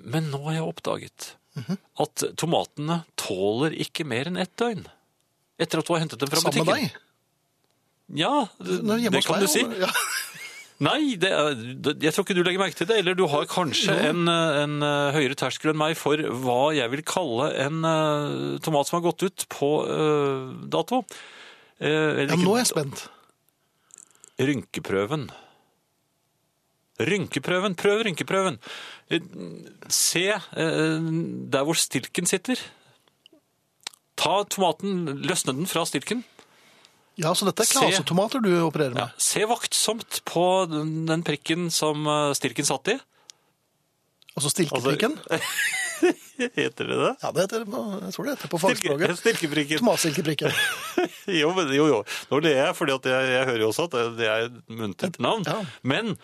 Men nå har jeg oppdaget Mhm. at tomatene tåler ikke mer enn ett døgn. Etter at du har hentet dem fra Sammen med butikken. deg. Ja, Nå er det, hjemme hos det kan meg, du si. og- Ja. Nei, det er, det, jeg tror ikke du legger merke til det. Eller du har kanskje en, eh, en eh, høyere terskel enn meg for hva jeg vil kalle en eh, tomat som har gått ut på eh, dato. Eh, eller ja, ikke- nå er jeg spent. Rynkeprøven. Rynkeprøven. Prøv rynkeprøven. Eh, Se eh, der hvor stilken sitter. Ta tomaten, løsne den fra stilken. Ja, så dette er Se. klasetomater du opererer med. Se vaktsomt på den den prikken som eh, stilken satt i. Altså stilkeprikken. Heter det det? Ja, det heter, på- jeg tror det heter på Stilke, [laughs] fagspråket. stilkeprikken. Tomatstilkeprikken. Jo, men, jo, jo. Nå ler jeg, for jeg, jeg hører jo også at det- det er et muntert navn. Ja. Men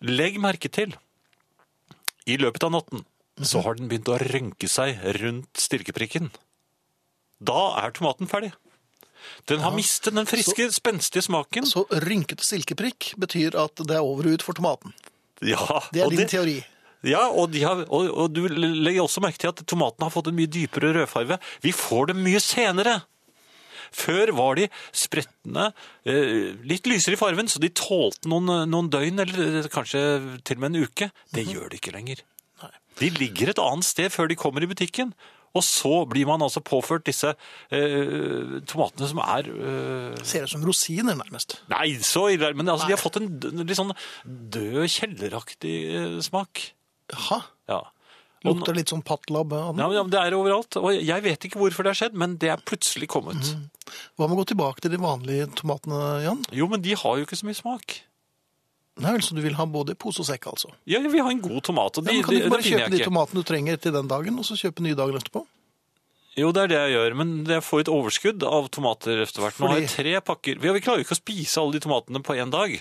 legg merke til, i løpet av natten så har den begynt å rynke seg rundt stilkeprikken. Da er tomaten ferdig. Den har mistet den friske, spenstige smaken. Så rynkete stilkeprikk betyr at det er over og ut for tomaten. Ja, Det er og din det- teori. Ja, og, de har, og, og du legger også merke til at tomatene har fått en mye dypere rødfarve. Vi får dem mye senere. Før var de sprettende, eh, litt lysere i farven, så de tålte noen, noen døgn, eller eh, kanskje til og med en uke. Det gjør de ikke lenger. De ligger et annet sted før de kommer i butikken. Og så blir man altså påført disse eh, tomatene som er eh, Ser ut som rosiner, nærmest. Nei, så ille, men altså, de har fått en d- litt sånn død, kjelleraktig eh, smak. Jaha. Ja. Og Lukter litt sånn pattlab av den. Ja, men- ja, men Det er overalt, og jeg vet ikke hvorfor det har skjedd, men det er plutselig kommet. Mm. Hva med å gå tilbake til de vanlige tomatene, Jan? Jo, men de har jo ikke så mye smak. Nei, vel, så du vil ha både pose og sekk, altså. Ja, vi har en god tomat, og Ja, de, men kan du de, ikke det bare finner kjøpe de jeg ikke. tomatene du trenger til den dagen, og så kjøpe nye dagen etterpå? Jo, det er det jeg gjør, men jeg får et overskudd av tomater etter hvert. Nå har jeg tre pakker. Vi, vi klarer jo ikke å spise alle de tomatene på én dag.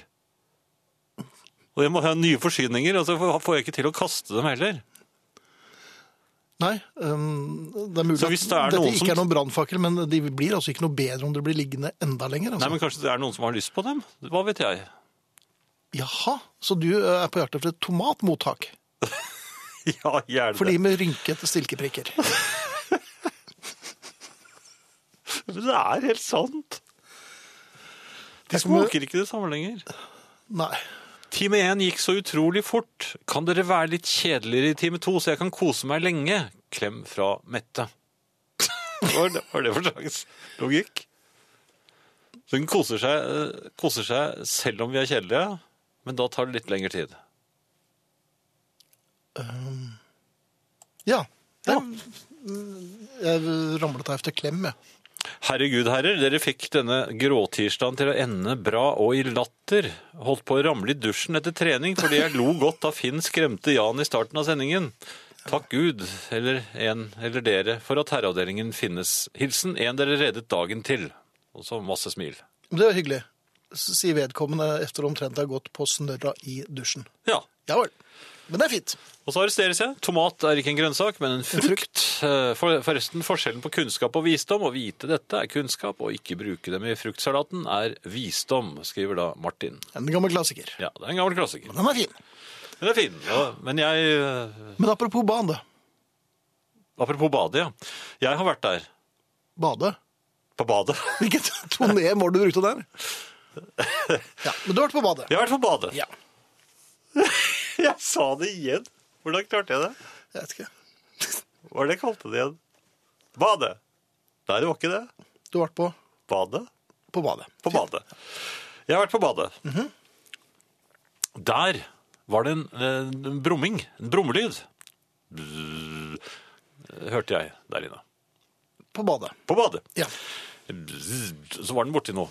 Og jeg må ha nye forsyninger, og så får- får jeg ikke til å kaste dem heller. Nei, øhm, det er mulig Så at hvis det er dette noen ikke som- er noen brannfakkel, men de blir altså ikke noe bedre om det blir liggende enda lenger. Altså. Nei, men Kanskje det er noen som har lyst på dem? Hva vet jeg? [laughs] Jaha, så du øh, er på hjertet for et tomatmottak? Ja, gjerne. For de med rynkete stilkeprikker. [laughs] Men Det er helt sant. De Jeg kommer- smaker ikke det samme lenger. Nei. Time én gikk så utrolig fort. Kan dere være litt kjedeligere i time to, så jeg kan kose meg lenge? Klem fra Mette. [laughs] Hva er det, hva er det for slags logikk? Så hun koser seg, eh, koser seg selv om vi er kjedelige, men da tar det litt lengre tid. Ja. ja. Jeg ramlet av etter klem, jeg. Herregud, herrer, dere fikk denne gråtirsdagen til å ende bra og i latter. Holdt på å ramle i dusjen etter trening fordi jeg lo godt da Finn skremte Jan i starten av sendingen. Takk Gud, eller en eller dere, for at herreavdelingen finnes. Hilsen en dere reddet dagen til. Og så masse smil. Men det var hyggelig. S- Sier vedkommende etter omtrent å ha gått på snørra i dusjen. Ja. Ja vel. Men det er fint. Og så arresteres jeg. Tomat er ikke en grønnsak, men en frukt. Eh, For, forresten, forskjellen på kunnskap og visdom, å vite dette er kunnskap, og ikke bruke dem i fruktsalaten er visdom, skriver da Martin. En gammel klassiker. Ja, det er en gammel klassiker. Den er fin. Den er fin. Ja. Men jeg eh, Men apropos bade. Apropos bade, ja. Jeg har vært der. Bade. [laughs] På [laughs] badet. Hvilket toné var det du brukte der? Ja, men du har vært på badet. Jeg har vært på badet. Ja. Jeg sa det igjen. Hvordan klarte jeg det? Jeg vet ikke. Hva er det jeg kalte det igjen? Badet. Nei, det var ikke det. Du har vært på, Badet. på badet. På badet. Jeg har vært på badet. Der var det en, eh, en brumming. En brummelyd. Bzzz, Hørte jeg der inne. På badet. På badet. Ja. Så var den borti nå.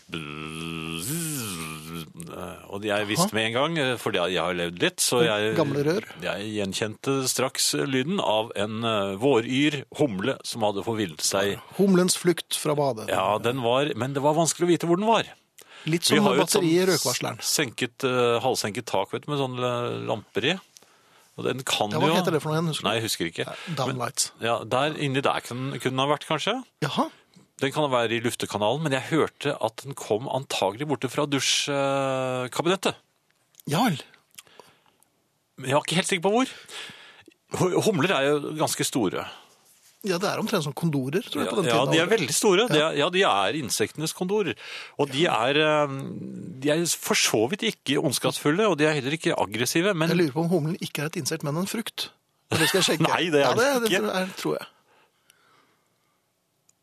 Og jeg visste med en gang, eh, fordi jeg har levd litt, så jeg, Gamle rør? jeg gjenkjente straks lyden av en eh, våryr humle som hadde forvillet seg. Humlens flukt fra badet. Ja, den var, Men det var vanskelig å vite hvor den var. Litt som jo et batteri i sånn røkvarsleren. Senket, eh, halvsenket tak vet du, med sånne lamper i. Og den kan Ja, hva jo heter det for noe igjen? Husker du? Nei, jeg husker ikke. Downlights. Ja, der inni der kunne kunne den ha vært, kanskje. Jaha. Den kan være i luftekanalen, men jeg hørte at den kom antagelig borte fra dusjkabinettet. Ja vel. Men jeg var ikke helt sikker på hvor. H- Humler er jo ganske store. Ja, det er omtrent som kondorer, tror jeg, Ja, på den ja, tiden. de er veldig store. De er, ja, de er insektenes kondorer. Og de er, eh, de er for så vidt ikke ondskapsfulle, og de er heller ikke aggressive. Jeg Men lurer på om humlen ikke er et insekt, men en frukt. Det skal jeg sjekke. Nei, det er ja, det det, ikke. er, tror jeg.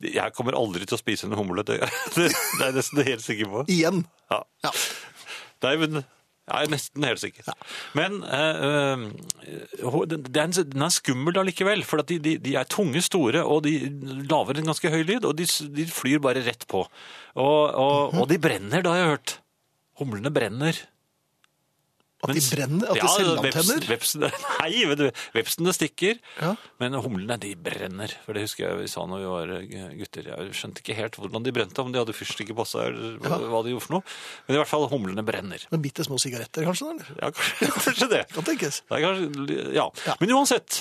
jeg kommer aldri til å spise en humle. Det, [laughs] det, det er jeg nesten helt sikker på. Igjen. Ja. Ja. Nei, men jeg er nesten helt sikker. Men eh, eh, den, den er en- den er skummel allikevel, for at de, de, de er tunge, store, og de laver en ganske høy lyd, og de, s- de flyr bare rett på. Og, og, Mhm. og de brenner, det har jeg hørt. Humlene brenner. At Mens- de brenner, at de selvantenner. Veps, vepsene, [laughs] nei, vet du, vepsene stikker, Ja. men humlene de brenner. For det husker jeg vi sa når vi var eh, gutter. Jeg skjønte ikke helt hvordan de brente, om de hadde fyrstikker på seg, eller hva- hva de gjorde for noe. Men i hvert fall, humlene brenner. Med bitte små sigaretter, kanskje? da, Eller? Ja, [laughs] kanskje kanskje det. Kan tenkes. Det er kanskje, ja. Men uansett,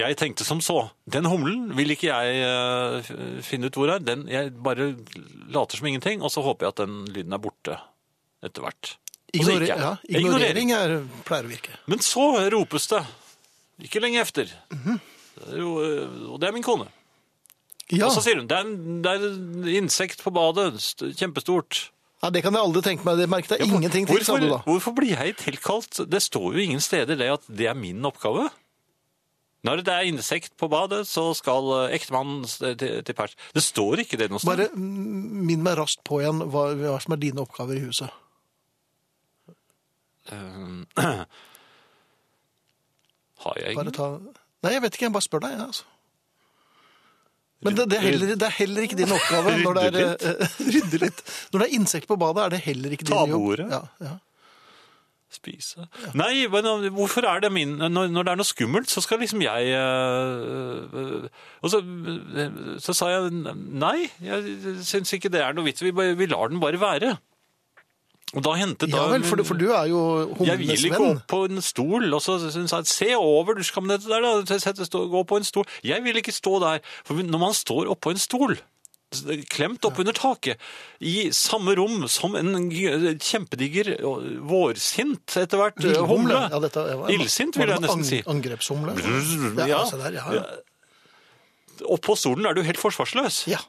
jeg tenkte som så. Den humlen vil ikke jeg eh, f- finne ut hvor er. Den, jeg bare later som ingenting, og så håper jeg at den lyden er borte etter hvert. Og så Ignorer- gikk jeg. ja, Jeg ignorerer. ignorering er, pleier å virke. Men så ropes det, ikke lenge efter. Mhm. Det er jo, eh, og det er min kone. Ja. Og så sier hun, det er, en, det er en insekt på badet, st- kjempestort. Nei, det kan jeg aldri tenke meg. Det merket jeg Ja, hvor- ingenting til, sa hvorfor, du da. Hvorfor blir jeg tilkalt? Det står jo ingen steder det at det er min oppgave. Når det er insekt på badet, så skal eh, ektemannen s- til, til pers. Det står ikke det noe sted. Bare mm, minn meg raskt på igjen hva, hva som er dine oppgaver i huset. Eh, [clears throat] har jeg Bare ingen? ta... Nei, jeg vet ikke. Jeg bare spør deg. jeg, altså. Men det, det, er heller, det er heller ikke [laughs] din oppgave når det er Rydde litt. eh, [laughs] Rydde litt. Når det er insekt på badet, er det heller ikke din Ta jobb. bordet. Ja, ja. Spise. Nei, men eh, hvorfor er det min Når, når det er noe skummelt, så skal liksom jeg eh, eh, Og så, eh, så sa jeg nei, jeg syns ikke det er noe vits. Vi, bare- vi lar den bare være. Og da hentet ja da vel, for, du- for du er jo Jeg vil humlenes ikke venn. opp på en stol, og så hun sa, se over dusjkabinettet der, da, Se- sette- stå- gå på en stol. Jeg vil ikke stå der, for når man står oppå en stol, klemt opp under taket, i samme rom som en g- kjempediger og vårsint etter hvert eh, humle. Ja, dette er- var- Illsint, vil var jeg det nesten ang- si. Angrepshumle. Brrr, Ja, ja. se der, ja, ja. Oppå stolen er du helt forsvarsløs. ja.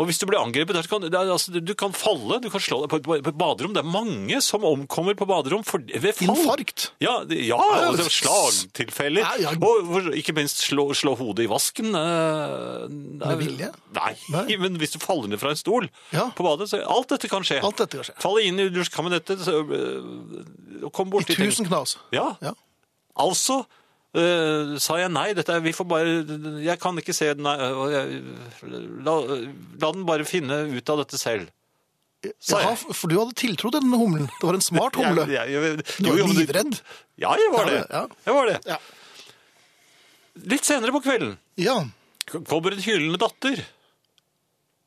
Og Og hvis du blir angrepet der, så kan det er- altså, du kan falle, du kan slå deg på, på, på et baderom. Det er mange som omkommer på baderom for, ved fall. Infarkt? Ja, det, ja, Ja, ja. og det er slagtilfeller. Ja, ja. Og hvor- ikke minst slå, slå hodet i vasken. eh, er- vilje? Nei, Nei. men hvis du faller ned fra en stol Ja. på badet, så alt dette kan skje. Alt dette kan skje. Falle inn i dusjkabinettet så, øh, og kom I borti tusen knas. Ja, Ja. altså øh, sa jeg nei, dette er, vi får bare, jeg kan ikke se den, nei, øh, jeg, la, la den bare finne ut av dette selv. Sa jeg. Jaha, for du hadde tiltro til denne humlen. Det var en [laughs] smart humle. Jeg- jeg- jeg- Du var jo, jo, men livredd. Ja, jeg var Ja, det. ja. Jeg var det. Ja. Litt senere på kvelden ja. kommer en hylende datter.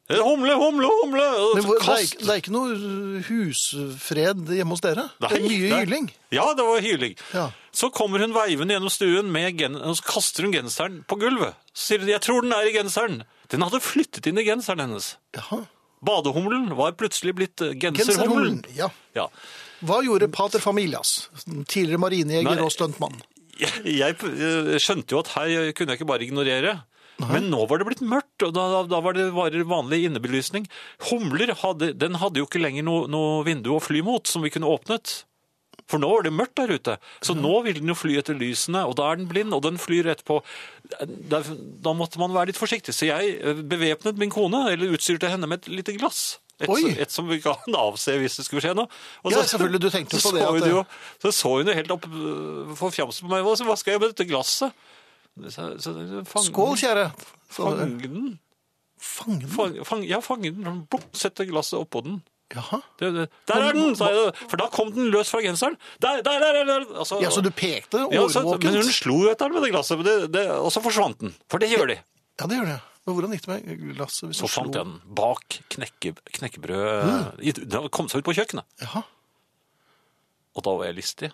Eh, Humle, humle, humle! og Men så hvor, det, er, Altså, kast- ikke- det er ikke noe uh, husfred hjemme hos dere? det er Nei, mye nei. hyling. Ja, det var hyling. Ja. Så kommer hun veivende gjennom stuen, med gen og så kaster hun genseren på gulvet. Så sier hun, jeg tror den er i genseren. Den hadde flyttet inn i genseren hennes. Jaha. Badehumlen var plutselig blitt eh, genserhumlen. Genserhumlen. Ja. Ja. [laughs] Hva gjorde pater familias? Tidligere marinejeger Nei. og stuntmann. Jeg, jeg eh, skjønte jo at her kunne jeg ikke bare ignorere. Men nå var det blitt mørkt, og da, da var det bare vanlig innebelysning. Humler hadde, den hadde jo ikke lenger noe noe vindu å fly mot som vi kunne åpnet. For nå var det mørkt der ute. Så nå vil den jo fly etter lysene, og da er den blind, og den flyr rett på. Da, da måtte man være litt forsiktig. Så jeg eh, bevæpnet min kone, eller utstyrte henne med et lite glass. Et, Oi! et som vi kan avse hvis det skulle skje noe. Og Ja, selvfølgelig, du tenkte så på det at Så hun det- jo, så så hun jo helt opp øh, forfjamset på meg. Hva hva skal jeg med dette glasset? Så, så, fang, Skål, kjære. Så, eh, Fange den. fang den. Fang, fang, ja, fange den. Blokk, sette glasset oppå den. Jaha. Det, det. Der er den! sa jeg. For da kom den løs fra genseren. Der, der, der! der, der. Altså, Ja, så du pekte ja, så- overvåkent? men hun slo jo etter den med det glasset, men det, det, og så forsvant den. For det gjør de. Ja, det gjør det. Men hvordan gikk det med glasset? Hvis Så du slo- fant jeg den bak knekke, knekkebrød... i- Den kom seg ut på kjøkkenet. Jaha. Og da var jeg listig.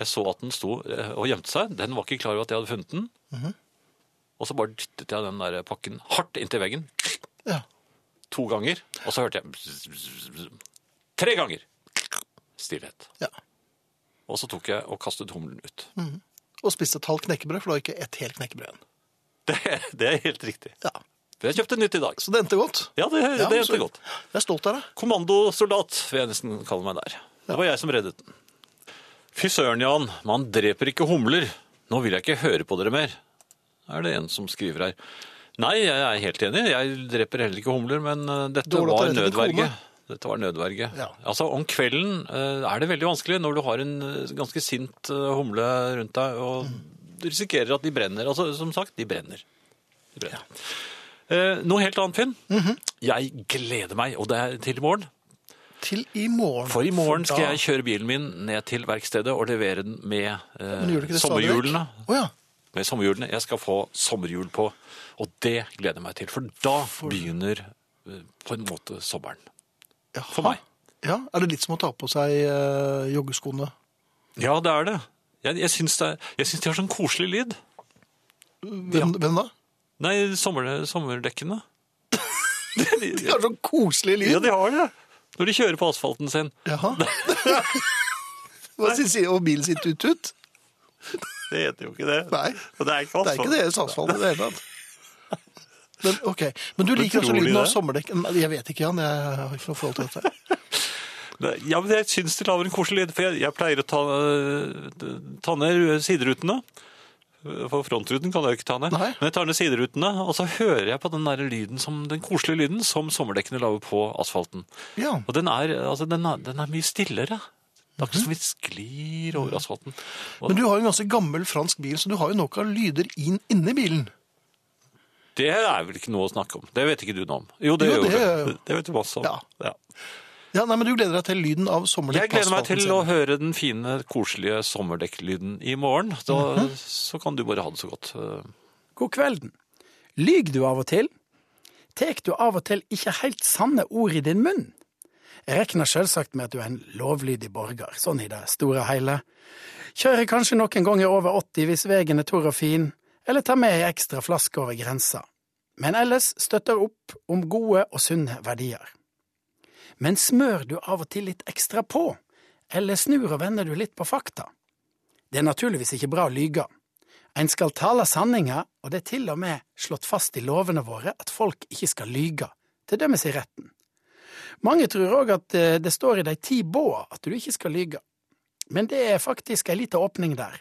Jeg så at den sto eh, og gjemte seg. Den var ikke klar over at jeg hadde funnet den. Mhm. Og så bare dyttet jeg den der pakken hardt inntil veggen. Ja. To ganger. Og så hørte jeg bzz, bzz, bzz. Tre ganger! Stillhet. ja. Og så tok jeg og kastet humlen ut. Mm. Og spiste et halvt knekkebrød, for det var ikke ett helt knekkebrød igjen. Det, det er helt riktig. Ja. For jeg kjøpte nytt i dag. Så det endte godt. Ja, det, Ja, det men så- endte godt. Jeg er stolt av deg. Kommandosoldat, vil jeg nesten kalle meg der. Det var jeg som reddet den. Fy søren, Jan, man dreper ikke humler. Nå vil jeg ikke høre på dere mer. Er det en som skriver her. Nei, jeg er helt enig. Jeg dreper heller ikke humler, men eh, dette Dårlig at var jeg reddet en nødverge. kone. Dette var nødverge. Ja. Altså, om kvelden eh, er det veldig vanskelig når du har en eh, ganske sint eh, humle rundt deg, og du risikerer at de brenner. Altså, som sagt, de brenner. De brenner. Eh, noe helt annet, Finn. Mhm. Jeg gleder meg, og det er til i morgen. Til i morgen. For i morgen skal da- jeg kjøre bilen min ned til verkstedet og levere den med Men gjør du eh, ikke det stadig vekk? sommerhjulene. Å ja. Med sommerhjulene. Jeg skal få sommerhjul på, og det gleder jeg meg til. For da begynner eh, på en måte sommeren. Jaha. For meg. Ja, Er det litt som å ta på seg eh, joggeskoene? Ja, det er det. Jeg, jeg syns det, er- jeg syns de har sånn koselig lyd. Hvem, hvem da? Nei, sommer, [laughs] sommerdekkene. De har sånn koselig lyd. Ja, de har det. Når de kjører på asfalten sin. Jaha. [laughs] Hva sier sier- Og bilen sin tut-tut? Det heter jo ikke det. Nei, Og det er ikke det er ikke deres asfalt i det hele tatt. Men, ok, men du liker altså tror de lyden av det? sommerdekk? Nei, Jeg vet ikke, Jan. Jeg har ikke noe forhold til dette. Nei, Ja, men jeg syns de lager en koselig lyd, for jeg, jeg pleier å ta, øh, ta ned siderutene. For frontruten kan jeg jo ikke ta ned. Nei. Men jeg tar ned siderutene, og så hører jeg på den, der lyden som, den koselige lyden som sommerdekkene lager på asfalten. [laughs] Ja. Og den er, altså, den er, den er mye stillere. Det er ikke som vi sklir over asfalten. Mhm. Og Men du har jo en ganske gammel fransk bil, så du har jo nok av lyder inn, inni bilen. det er vel ikke noe å snakke om. Det vet ikke du noe om. Jo, det, Jo, gjør det du. gjør jeg jo. Det, det vet du masse om. Ja. Ja, nei, men Du gleder deg til lyden av sommerdekk? Jeg gleder meg til å å... høre den fine, koselige sommerdekklyden i morgen. Da, Mhm. Så kan du bare ha det så godt. øh. God kvelden. Lyg du av og til? Tek du av og til ikke helt sanne ord i din munn? Jeg regner selvsagt med at du er en lovlydig borger, sånn i det store og hele. Kjører kanskje noen ganger over 80 hvis veien er tor og fin, eller tar med ei ekstra flaske over grensa, men ellers støtter opp om gode og sunne verdier. Men smør du av og til litt ekstra på, eller snur og vender du litt på fakta? Det er naturligvis ikke bra å lyge. En skal tale sanninga, og det er til og med slått fast i lovene våre at folk ikke skal lyge til dømes i retten. Mange tror òg at eh, det står i de ti båa at du ikke skal lyge, men det er faktisk ei lita åpning der.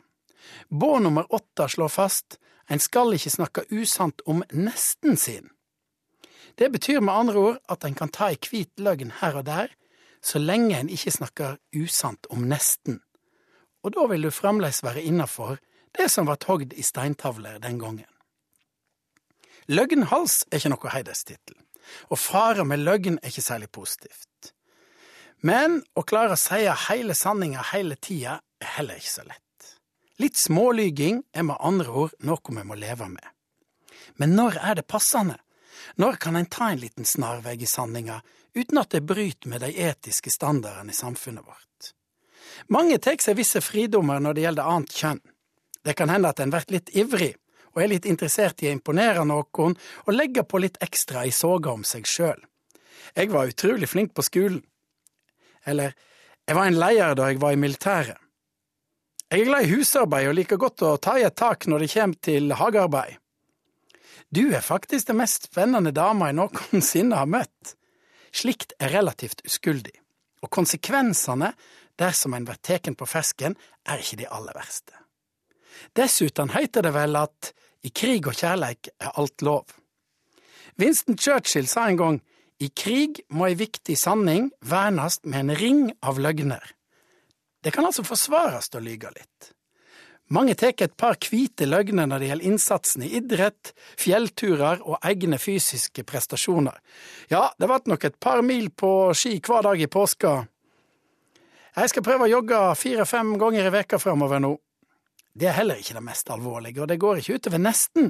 Bå nummer åtte slår fast en skal ikke snakke usant om nesten sin. Det betyr med andre ord at en kan ta ei hvit løgn her og der, så lenge en ikke snakker usant om nesten. Og da vil du fremdeles være innafor det som ble hogd i steintavler den gangen. Løgnhals er ikke noe heiderstittel, og fara med løgn er ikke særlig positivt. Men å klare å si hele sanninga hele tida er heller ikke så lett. Litt smålyging er med andre ord noe vi må leve med. Men når er det passende? Når kan en ta en liten snarvei i sanninga uten at det bryter med de etiske standardene i samfunnet vårt? Mange tar seg visse fridommer når det gjelder annet kjønn. Det kan hende at en blir litt ivrig, og er litt interessert i å imponere noen, og legger på litt ekstra i soga om seg sjøl. Jeg var utrolig flink på skolen. Eller, jeg var en leder da jeg var i militæret. Jeg er glad i husarbeid og liker godt å ta i et tak når det kommer til hagearbeid. Du er faktisk den mest spennende dama jeg noensinne har møtt. Slikt er relativt uskyldig, og konsekvensene, dersom en blir tatt på fersken, er ikke de aller verste. Dessuten heter det vel at i krig og kjærleik er alt lov. Winston Churchill sa en gang i krig må ei viktig sanning vernes med en ring av løgner. Det kan altså forsvares å lyge litt. Mange tar et par hvite løgner når det gjelder innsatsen i idrett, fjellturer og egne fysiske prestasjoner. Ja, det ble nok et par mil på ski hver dag i påska. Jeg skal prøve å jogge fire-fem ganger i veka framover nå. Det er heller ikke det mest alvorlige, og det går ikke utover nesten,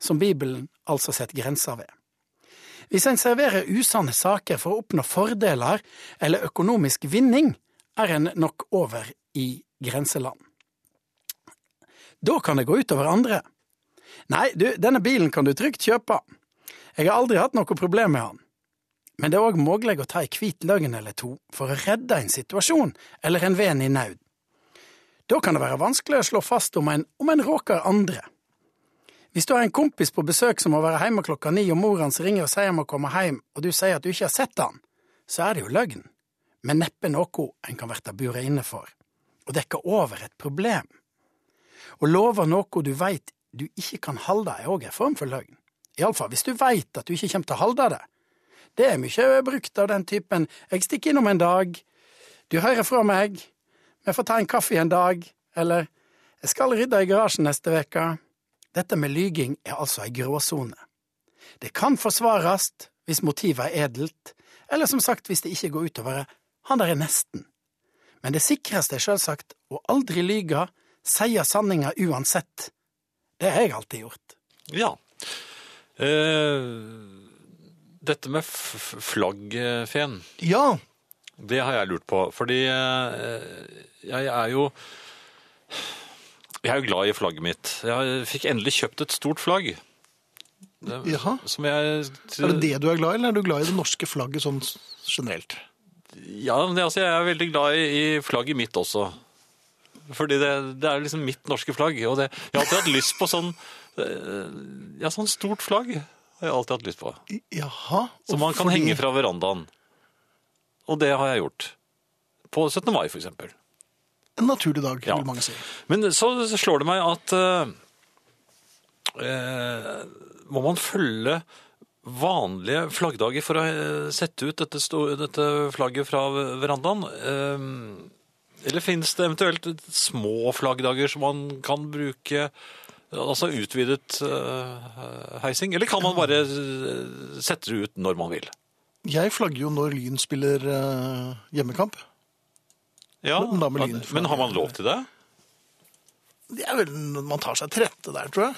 som Bibelen altså setter grenser ved. Hvis en serverer usanne saker for å oppnå fordeler eller økonomisk vinning, er en nok over i grenseland. Da kan det gå utover andre. Nei, du, denne bilen kan du trygt kjøpe. Jeg har aldri hatt noe problem med han. Men det er òg mulig å ta ei hvit løgn eller to for å redde en situasjon eller en venn i nød. Da kan det være vanskelig å slå fast om en, om en råker andre. Hvis du har en kompis på besøk som må være hjemme klokka ni, og mor hans ringer og sier han må komme hjem, og du sier at du ikke har sett han, så er det jo løgn men neppe noe en kan verta buret inne for, og dekke over et problem. Å love noe du veit du ikke kan halde er òg en form for løgn, iallfall hvis du veit at du ikke kjem til å halde det. Det er mykje brukt av den typen jeg stikker innom en dag, du hører fra meg, vi får ta en kaffe en dag, eller jeg skal rydde i garasjen neste veke. Dette med lyging er altså ei gråsone. Det kan forsvares hvis motivet er edelt, eller som sagt hvis det ikke går utover han der er nesten. Men det sikreste er selvsagt å aldri lyge, sie sanninga uansett. Det har jeg alltid gjort. Ja. Eh, dette med f- f- flaggfen, Ja, det har jeg lurt på. Fordi eh, jeg er jo Jeg er jo glad i flagget mitt. Jeg fikk endelig kjøpt et stort flagg. Det- Jaha. Som jeg er det det du er glad i, eller er du glad i det norske flagget sånn generelt? Ja, men det, altså, jeg er veldig glad i, i flagget mitt også. Fordi det, det er liksom mitt norske flagg. Og det, jeg har alltid hatt lyst på sånn eh, Ja, sånn stort flagg har jeg alltid hatt lyst på. I- Jaha. Som man kan henge fra verandaen. Og det har jeg gjort. På 17. mai, for eksempel. En naturlig dag, Ja. vil mange si. Men så slår det meg at eh, eh, Må man følge vanlige flaggdager for å eh, sette ut dette, sto, dette flagget fra verandaen? Eh, eller finnes det eventuelt små flaggdager som man kan bruke Altså utvidet eh, heising? Eller kan man bare eh, sette det ut når man vil? Jeg flagger jo når Lyn spiller eh, hjemmekamp. Ja, Men da med at- lynflagg. men har man lov til det? Det er vel, Man tar seg til rette der, tror jeg.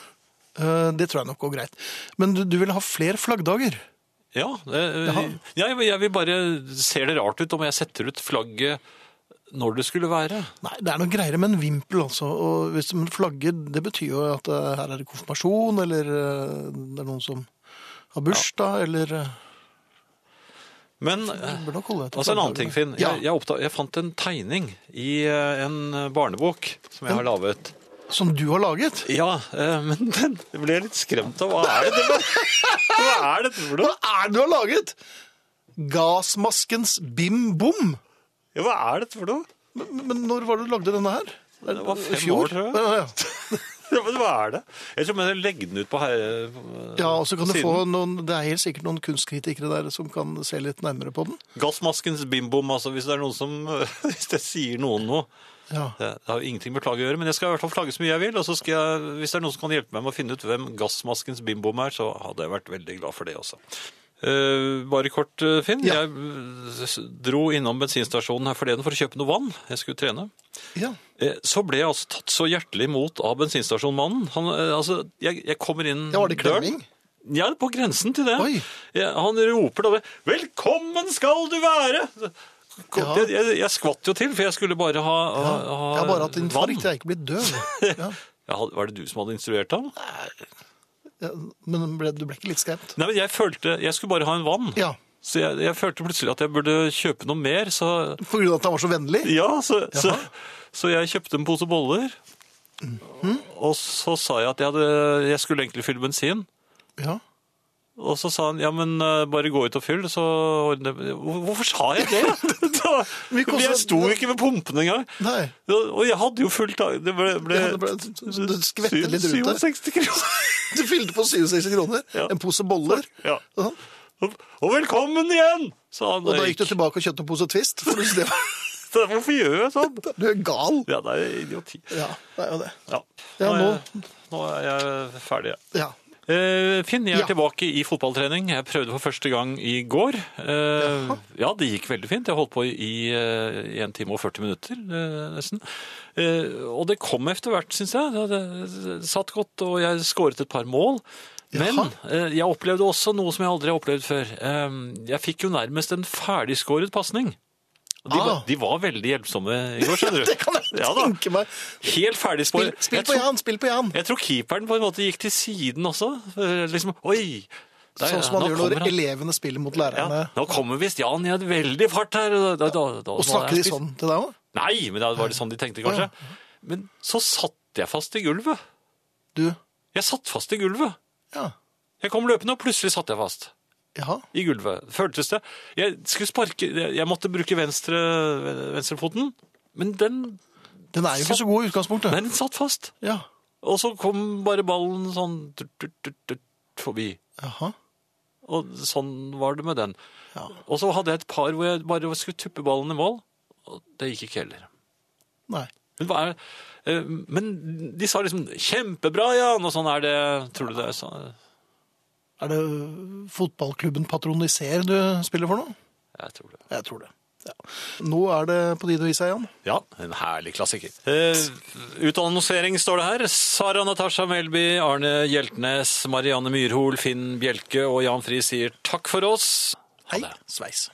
Eh, det tror jeg nok går greit. Men du, du vil ha flere flaggdager? Ja. eh, Jaha. jeg, jeg vil bare Ser det rart ut om jeg setter ut flagget når det skulle være? Nei, det er noe greiere med en vimpel, altså. Og hvis men flagger, det betyr jo at eh, her er det konfirmasjon, eller eh, det er noen som har bursdag, eller eh, Men jeg eh, bør nok holde etter altså en annen flaggdagene. ting, Finn. Ja. Jeg, jeg, oppdag, jeg fant en tegning i eh, en barnebok som jeg har laget. Som du har laget? Ja, eh, men den ble jeg litt skremt av. Hva er det Hva er dette for Hva noe? er det du har laget? Gasmaskens Bim Bom. Ja, Hva er dette for noe? Men, men når var det du lagde denne her? Det var I fem fjor? år, tror jeg. Ja, ja. Ja, men hva er det? Jeg tror jeg legge den ut på her... ja, og så kan du siden. få noen Det er helt sikkert noen kunstkritikere der som kan se litt nærmere på den. Gassmaskens bimbom, altså hvis det er noen som... [laughs] Hvis det sier noen noe. Ja. Det det har jo ingenting med flagget å gjøre, men jeg skal i hvert fall flagge så mye jeg vil, og så skal jeg, hvis det er noen som kan hjelpe meg med å finne ut hvem gassmaskens bimbom er, så hadde jeg vært veldig glad for det også. Eh, bare kort, eh, Finn. Ja. Jeg eh, s- dro innom bensinstasjonen her forleden for å kjøpe noe vann. Jeg skulle trene. ja. Eh, Så ble jeg altså tatt så hjertelig imot av bensinstasjonmannen. Han, eh, altså, jeg, jeg kommer inn Ja, var det klemming? Ja, på grensen til det. Oi. Ja, han roper da det. 'Velkommen skal du være!' Kom- Ja. Jeg, jeg, jeg skvatt jo til, for jeg skulle bare ha, ha, ha Jeg har bare hatt vann. infarkt, jeg er ikke blitt døv. Ja. Ja, had- var det du som hadde instruert ham? Ja, men ble, du ble ikke litt skremt? Nei, men jeg følte Jeg skulle bare ha en vann. Ja. Så jeg, jeg følte plutselig at jeg burde kjøpe noe mer, så På grunn av at han var så vennlig? Ja, så, så, så jeg kjøpte en pose boller. Mhm. Og så sa jeg at jeg, hadde, jeg skulle egentlig fylle bensin. Ja. Og så sa han ja, men eh, bare gå ut og fyll, så ordner jeg Hvor- Hvorfor sa jeg [laughs] det? da, Vi kostet- jeg sto ikke ved pumpen engang. Nei. Og og jeg hadde jo fullt av Det ble, ble, Ja, det ble- du skvettet litt rundt der. 67 kroner. [laughs] Du fylte på 67 kroner, Ja. en pose boller. Ja. Sånn. Og og velkommen igjen! sa han. Og da gikk du tilbake og kjøpte en pose Twist. For du, det var, Hvorfor gjør jeg sånn? du er gal. Ja, det er idioti. Ja, det er jo det. Ja. Ja, nå, er jeg, nå er jeg ferdig. jeg. Ja. Eh, Finn, jeg er Ja. tilbake i fotballtrening. Jeg prøvde for første gang i går. Eh, ja, det gikk veldig fint. Jeg holdt på i eh, 1 time og 40 minutter, eh, nesten. Eh, og det kom etter hvert, syns jeg. Det, det satt godt, og jeg skåret et par mål. Men eh, jeg opplevde også noe som jeg aldri har opplevd før. Eh, jeg fikk jo nærmest en ferdigskåret pasning. Og De, Ah. var- de var veldig hjelpsomme i går, skjønner du. [laughs] Det kan jeg Ja da. tenke meg. Helt ferdig Spill, skåret. spill Jeg på tror- Jan, spill på Jan. jeg tror keeperen på en måte gikk til siden også. Eh, Liksom, oi! der- Sånn som man nå gjør når kommer han. elevene spiller mot ja, lærerne. Nå kommer visst Jan i et veldig fart her. og Da, da, da, da, Og må jeg snakker de spise- sånn til deg òg? Nei, men da var det sånn de tenkte, ja. kanskje. Men så satt jeg fast i gulvet. Du, Jeg satt fast i gulvet. ja. Jeg kom løpende, og plutselig satt jeg fast Jaha. i gulvet. Føltes det. Jeg skulle sparke Jeg måtte bruke venstre, venstrefoten, men den, Den er jo ikke så god i utgangspunktet. den satt fast. Ja. Og så kom bare ballen sånn tut, tut, tut, tut, forbi. Jaha. Og sånn var det med den. Ja. Og så hadde jeg et par hvor jeg bare skulle tuppe ballen i mål, og det gikk ikke heller. Nei. Men, hva er, eh, men de sa liksom 'kjempebra, Jan', og sånn er det. Tror du det er sånn? Er det fotballklubben Patroniser du spiller for nå? Jeg tror det. Jeg tror det. Ja. Nå er det på tide å gi seg, Jan. Ja, en herlig klassiker. Eh, utannonsering står det her. Sara Natasha Melby, Arne Hjeltnes, Marianne Myrhol, Finn Bjelke og Jan Friis sier takk for oss. Ha Hei, det. sveis.